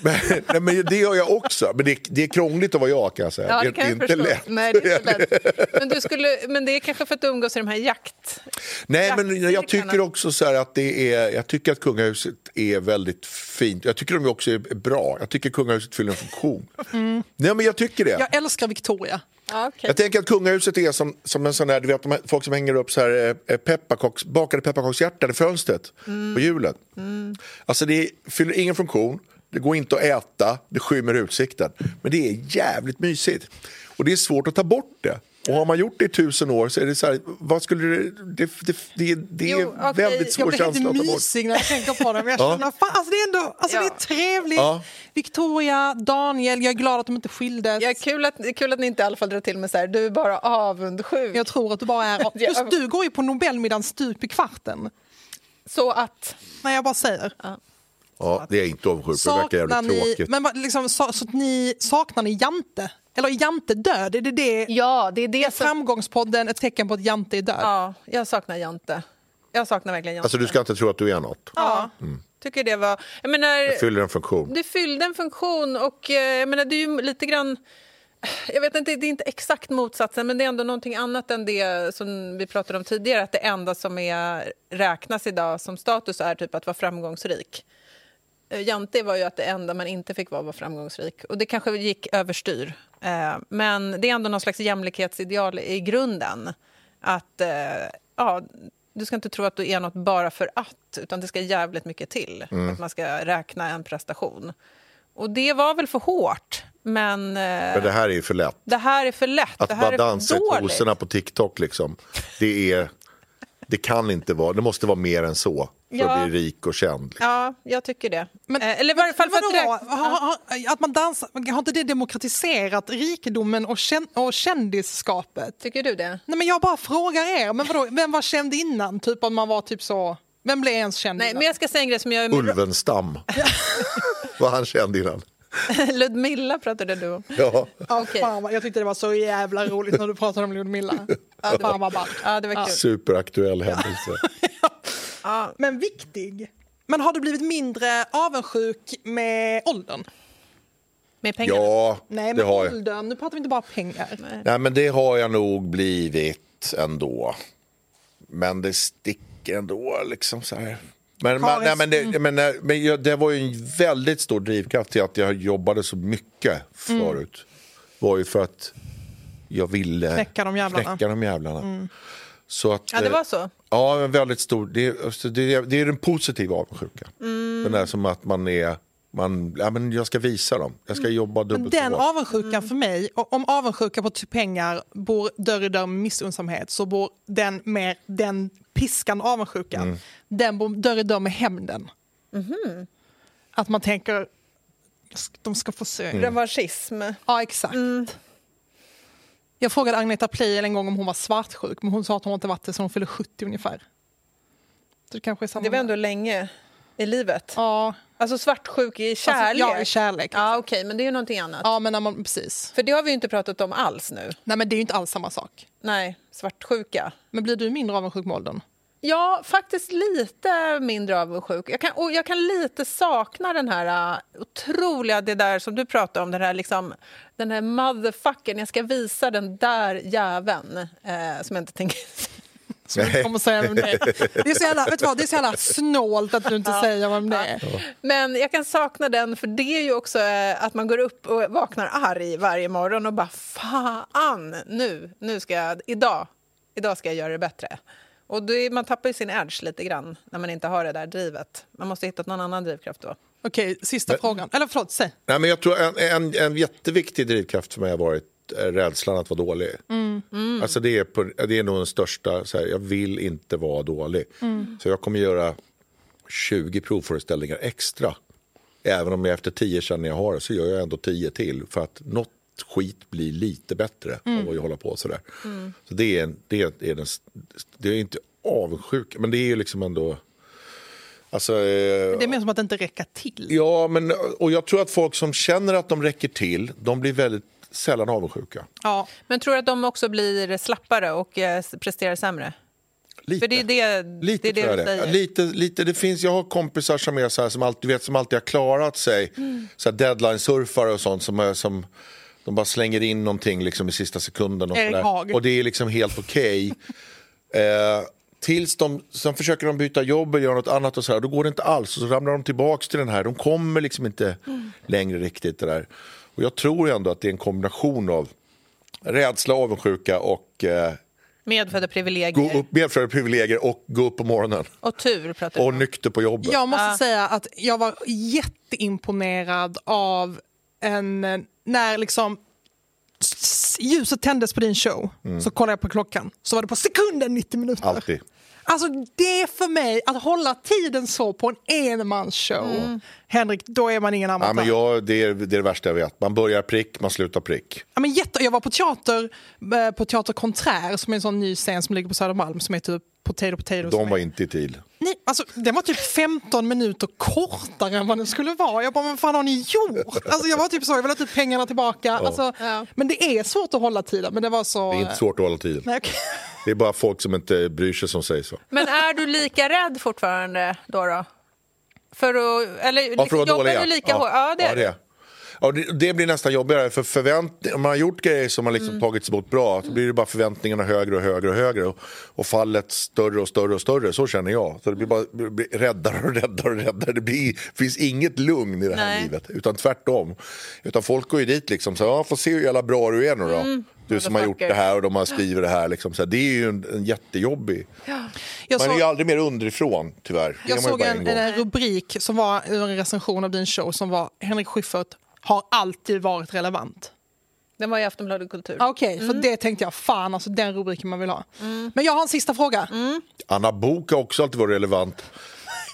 Men, nej, men det gör jag också. Men det, det är krångligt att vara jag kan jag säga.
Ja,
det
det
är
kan jag
inte
förstå.
lätt.
Nej, det är
[LAUGHS]
inte lätt. Men, du skulle, men det är kanske för att du umgås i de här jakt...
Nej, men jag
Jaktcirklarna.
tycker också så här att det är, jag tycker att kungahuset är väldigt fint. Jag tycker de också är bra. Jag tycker kungahuset fyller en funktion.
Mm.
Nej, men jag tycker det.
Jag älskar Victoria.
Ja, okej.
Jag tänker att kungahuset är som, som en sån här, du vet de här, folk som hänger upp så här, eh, pepparkocks, bakade pepparkakshjärtan i fönstret på julen. Alltså det fyller ingen funktion, det går inte att äta, det skymmer utsikten. Men det är jävligt mysigt. Och det är svårt att ta bort det. Och har man gjort det i tusen år så är det så här, vad skulle det, det, det, det, det är
Jo, okej,
väldigt svår
Jag blir
känsla
helt
att ta bort.
mysig när jag tänker på
[LAUGHS]
det. Men jag känner, fan, alltså det är ändå alltså det
Ja.
är trevligt.
Ja.
Victoria, Daniel, jag är glad att de inte skildes.
Ja,
Jag,
kul, att, det är kul att ni inte i alla fall drar till med så här, du är bara avundsjuk.
tror att du bara är...
[LAUGHS] Ja.
Just du går ju på Nobelmiddagen stup i kvarten.
Så att...
Nej, jag bara säger.
Ja, det är jag inte avundsjuk på, det verkar
Saknar
jävligt
ni,
tråkigt.
men vad- liksom, så, så att ni, saknar ni Jante? Eller är Jante död? Är det det?
Ja, det är det som...
Framgångspodden ett tecken på att Jante är död?
Ja, jag saknar Jante. Jag saknar verkligen Jante.
Alltså du ska inte tro att du är något,
Ja, tycker det var... Jag menar,
det fyller en funktion.
det fyllde en funktion och eh, jag menar, det är ju lite grann... Jag vet inte, det är inte exakt motsatsen men det är ändå någonting annat än det som vi pratade om tidigare att det enda som är, räknas idag som status är typ att vara framgångsrik. Eh, Jante var ju att det enda man inte fick vara var framgångsrik och det kanske gick överstyr. Eh, Men det är ändå någon slags jämlikhetsideal i grunden. att eh, ja, du ska inte tro att du är något bara för att, utan det ska jävligt mycket till.
Mm.
Att man ska räkna en prestation. Och det var väl för hårt, men eh,
Men det här är ju för lätt.
det här är för lätt.
Att
det
bara
här är
dansa i
för dåligt.
kosorna på TikTok, liksom. det, är, det kan inte vara... Det måste vara mer än så för
Ja.
att bli rik och känd. Liksom.
Ja, jag tycker det.
Men-
eh, eller i varje fall för att
Vadå?
räkna-
Har, har, att man dansar, har inte det demokratiserat rikedomen och, kän, och kändisskapet?
Tycker du det?
Nej, men jag bara frågar er, men vadå, vem var känd innan? Typ att man var typ så... Vem blev ens känd
Nej,
innan?
men jag ska säga en grej som jag är med [LAUGHS]
Ulvenstam var han känd innan.
Ludmilla pratade du om.
Ja.
Ja,
Okej.
fan, vad- jag tyckte det var så jävla roligt när du pratade om [LAUGHS] Ludmilla. Fan vad ballt.
Ja, det var kul.
Superaktuell händelse.
Men viktig. Men har du blivit mindre avundsjuk med åldern?
Med pengar.
Ja,
Nej,
det
men
har jag.
åldern. Nu pratar vi inte bara pengar.
Nej, men det har jag nog blivit ändå. Men det sticker ändå liksom så här. Men, man,
Karin-
nej, men, det, men, nej, men jag, det var ju en väldigt stor drivkraft till att jag jobbade så mycket
Mm.
förut. var ju för att jag ville
Knäcka de jävlarna. Mm.
knäcka de jävlarna. Så att,
Ja, det
eh,
var så.
Ja, en väldigt stor. Det, alltså, det, det är den positiva avundsjuka.
Mm.
Den där som att man är... Man, ja, men jag ska visa dem. Jag ska jobba dubbelt
Mm. Den
så hårt.
avundsjukan
Mm.
för mig, och om avundsjuka på typ pengar bor dörr i dörr med missunnsamhet så bor den mer den piskan avundsjukan, den bor dörr i dörr med hämnden.
Mm-hmm.
Att man tänker, "Jag ska- de ska få se.
Mm. Revanschism.
Ja, exakt.
Mm.
Jag frågade Agneta Pleijel en gång om hon var svartsjuk, men hon sa att hon inte varit det sedan hon fyllde 70 ungefär. Så det kanske är samma
Det var
där.
ändå länge i livet.
Ja,
Alltså svartsjuk i kärlek. liksom.
Alltså, ja, i kärlek.
Ja, okej, men det är ju någonting annat.
ja, men när man, precis.
För det har vi ju inte pratat om alls nu.
Nej, men det är ju inte alls samma sak.
Nej, svartsjuka.
Men blir du mindre avundsjuk med åldern?
Ja, faktiskt lite mindre avundsjuk. Jag kan, och jag kan lite sakna den här uh, otroliga, det där som du pratar om, den här, liksom, den här motherfucken, jag ska visa den där jäveln eh, som jag inte tänker...
Som inte kommer säga vem det är. Det är så jävla, vet du vad, det är så jävla snålt att du inte säger vem det är.
Men jag kan sakna den, för det är ju också eh, att man går upp och vaknar arg varje morgon och bara fan, nu, nu ska jag, idag, idag ska jag göra det bättre. Och det, är- man tappar ju sin edge lite grann när man inte har det där drivet. Man måste hitta någon annan drivkraft då.
Okej, sista frågan. Eller förlåt, säg.
Nej, men jag tror en, en, en jätteviktig drivkraft för mig har varit eh, rädslan att vara dålig. Alltså det, är på, det är nog den största, så här, jag vill inte vara dålig. Så jag kommer göra 20 provföreställningar extra. Även om jag efter 10 känner jag har det så gör jag ändå 10 till. För att något skit blir lite bättre av att hålla på sådär. Så det är, en- det, är, det är den, s- det är inte avundsjuk, men det är ju liksom ändå... Alltså, eh,
Det är mer som att det inte räcker till.
Ja, men, och jag tror att folk som känner att de räcker till, de blir väldigt sällan avundsjuka.
Ja,
Men tror du att de också blir slappare och eh, presterar sämre?
Lite.
För det är det,
Lite
det, är
tror
det
jag
du
det.
säger.
Ja, Lite, lite, det finns, jag har kompisar som är så här, som alltid, vet, som alltid har klarat sig.
Mm.
Så här deadline-surfare och sånt som, är, som de bara slänger in någonting liksom, i sista sekunden. Och, så
Erik Haag.
där. och det är liksom
[LAUGHS]
helt okej. eh, tills de, sen försöker de byta jobb och göra något annat och så här, då går det inte alls. Och så ramlar de tillbaks till den här, de kommer liksom inte
Mm.
längre riktigt det där. Och jag tror ändå att det är en kombination av rädsla, avundsjuka och eh,
Medfödda privilegier.
gå upp, medfödda privilegier och gå upp på morgonen.
Och tur pratar du
Och
om.
nykter på jobbet.
Jag måste säga att jag var jätteimponerad av en... När liksom s- ljuset tändes på din show så kollade jag på klockan. Så var det på sekunden 90 minuter.
Alltid.
Alltså det för mig, att hålla tiden så på en enmansshow. Henrik, då är man ingen amatör.
Ja, men jag, det, är, det är det värsta jag vet. Man börjar prick, man slutar prick.
Ja, men jätte, jag var på teater, eh, på Teater Contraire som är en sån ny scen som ligger på Södermalm som heter Potato Potato. som
De
är-
var inte i tid.
Nej, alltså, den var typ 15 minuter kortare än vad den skulle vara. Jag bara, men vad fan har ni gjort? Alltså, jag var typ så, jag vill ha typ pengarna tillbaka. Alltså, Men det är svårt att hålla tiden. Men det var så...
Det är inte svårt att hålla tiden.
Nej, okej.
Det är bara folk som inte bryr sig som säger så.
Men är du lika rädd fortfarande då? då? För att, eller
Ja, för att vara
jobbar
dåliga.
du lika hårt? Ja, det är det.
Ja, det, det blir nästan jobbigare, för förväntning, om man har gjort grejer som har liksom
Mm.
tagits emot bra så blir det bara förväntningarna högre och högre och högre och, och fallet större och större och större. Så känner jag. Så det blir bara blir, blir räddare och räddare och räddare. Det blir, finns inget lugn i det här
Nej. Mm.
livet, utan tvärtom. Utan folk går ju dit liksom, så, ja, får se hur jävla bra du är nu då. du som har gjort det här och de har skrivit det här. Liksom, så här. Det är ju en, en jättejobbig...
Jag
Man är ju
såg,
aldrig mer underifrån, tyvärr. Det
jag
är man ju
såg
bara
en,
gång.
en rubrik som var ur en recension av din show som var Henrik Schyffert har alltid varit relevant.
Den var i Aftonbladet Kultur.
Ah, Okej, för det tänkte jag, fan alltså den rubriken man vill ha. Men jag har en sista fråga.
Anna Book har också alltid varit relevant.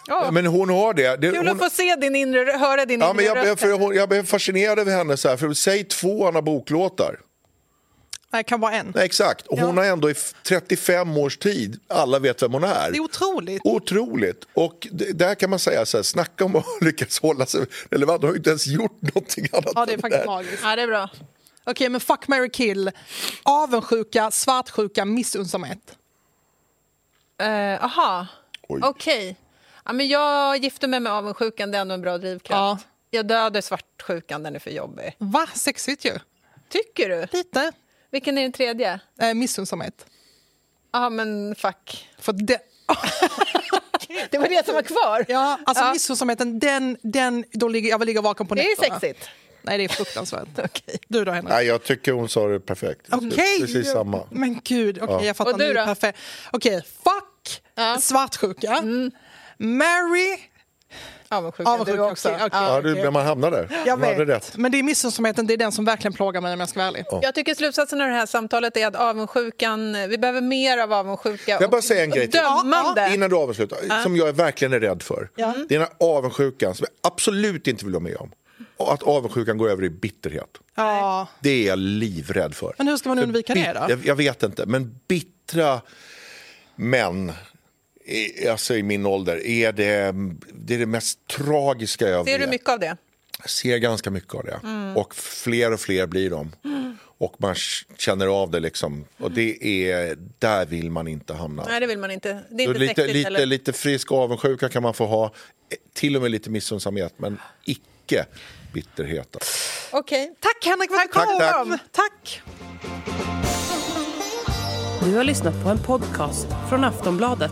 Ja.
Men hon har det. det
Kul
hon,
att få se din inre, rö- höra din
ja,
inre
men jag, blev-
röst.
för jag, jag blev fascinerad över henne. Så här, för säg två Anna Book-låtar.
Nej, kan vara en.
Nej, Exakt. Och hon har ändå i f- 35 års tid, alla vet vem hon är.
Det är otroligt.
Otroligt. Och det, där kan man säga så här, snacka om att [LAUGHS] ha lyckats hålla sig relevant. Hon har ju inte ens gjort någonting annat
Ja, det är
[LAUGHS]
än
faktiskt
här.
magiskt.
Ja, det är bra.
Okej, men fuck, marry, kill. Avundsjuka, svartsjuka, missunnsamhet.
Eh, aha,
Oj.
okej. Ja, men jag gifte mig med avundsjukan, det är ändå en bra drivkraft.
Ja.
Jag dödar svartsjukan, den är för jobbig.
Va? Sexigt ju.
Tycker du?
Lite.
Vilken är den tredje?
Eh, missunnsamhet.
Ja, men fuck.
För det...
[LAUGHS] Det var det som var kvar.
Ja, alltså
Ja.
missunnsamheten, den, den, då ligger, jag vill ligga vaken på
Det är ju
nätterna.
sexigt.
Nej, det är
[LAUGHS]
fruktansvärt. Du då, Henrik?
Nej, jag tycker hon sa det perfekt.
Okej!
Precis samma.
Men gud, okej, jag fattar.
Och du
nu
då?
Perfekt. Okej, fuck
Ja.
svartsjuka. Marry
Avundsjuka,
avundsjuka
du också.
också. Okej,
Ja,
okej.
du, men man hamnar där.
Jag
man hade
vet.
rätt.
Men det är missunnsamheten, det är den som verkligen plågar mig om jag ska vara ärlig.
Jag tycker slutsatsen av det här samtalet är att avundsjukan, vi behöver mer av avundsjuka
Jag bara säga en grej till.
dömande.
Innan du avslutar, som jag verkligen är rädd för. Det är den här avundsjukan som jag absolut inte vill vara med om. Och att avundsjukan går över i bitterhet.
Ja.
Det är jag livrädd för.
Men hur ska man undvika det då?
Jag, jag vet inte, men bittra män i, alltså i min ålder är det, det, är det mest tragiska jag
Ser du
vet.
mycket Mm. av det?
Jag ser ganska mycket av det. Och fler och fler blir de.
Mm.
Och man känner av det. liksom. Och det är, där vill man inte hamna.
Nej, det vill man inte. Det är
Så
inte
lite,
sexigt
lite,
heller.
lite frisk avundsjuka kan man få ha. Eh, Till och med lite missunnsamhet, men icke bitterhet.
Okej.
Tack Henrik för att du
Tack,
kom!
tack.
tack.
Du har lyssnat på en podcast från Aftonbladet.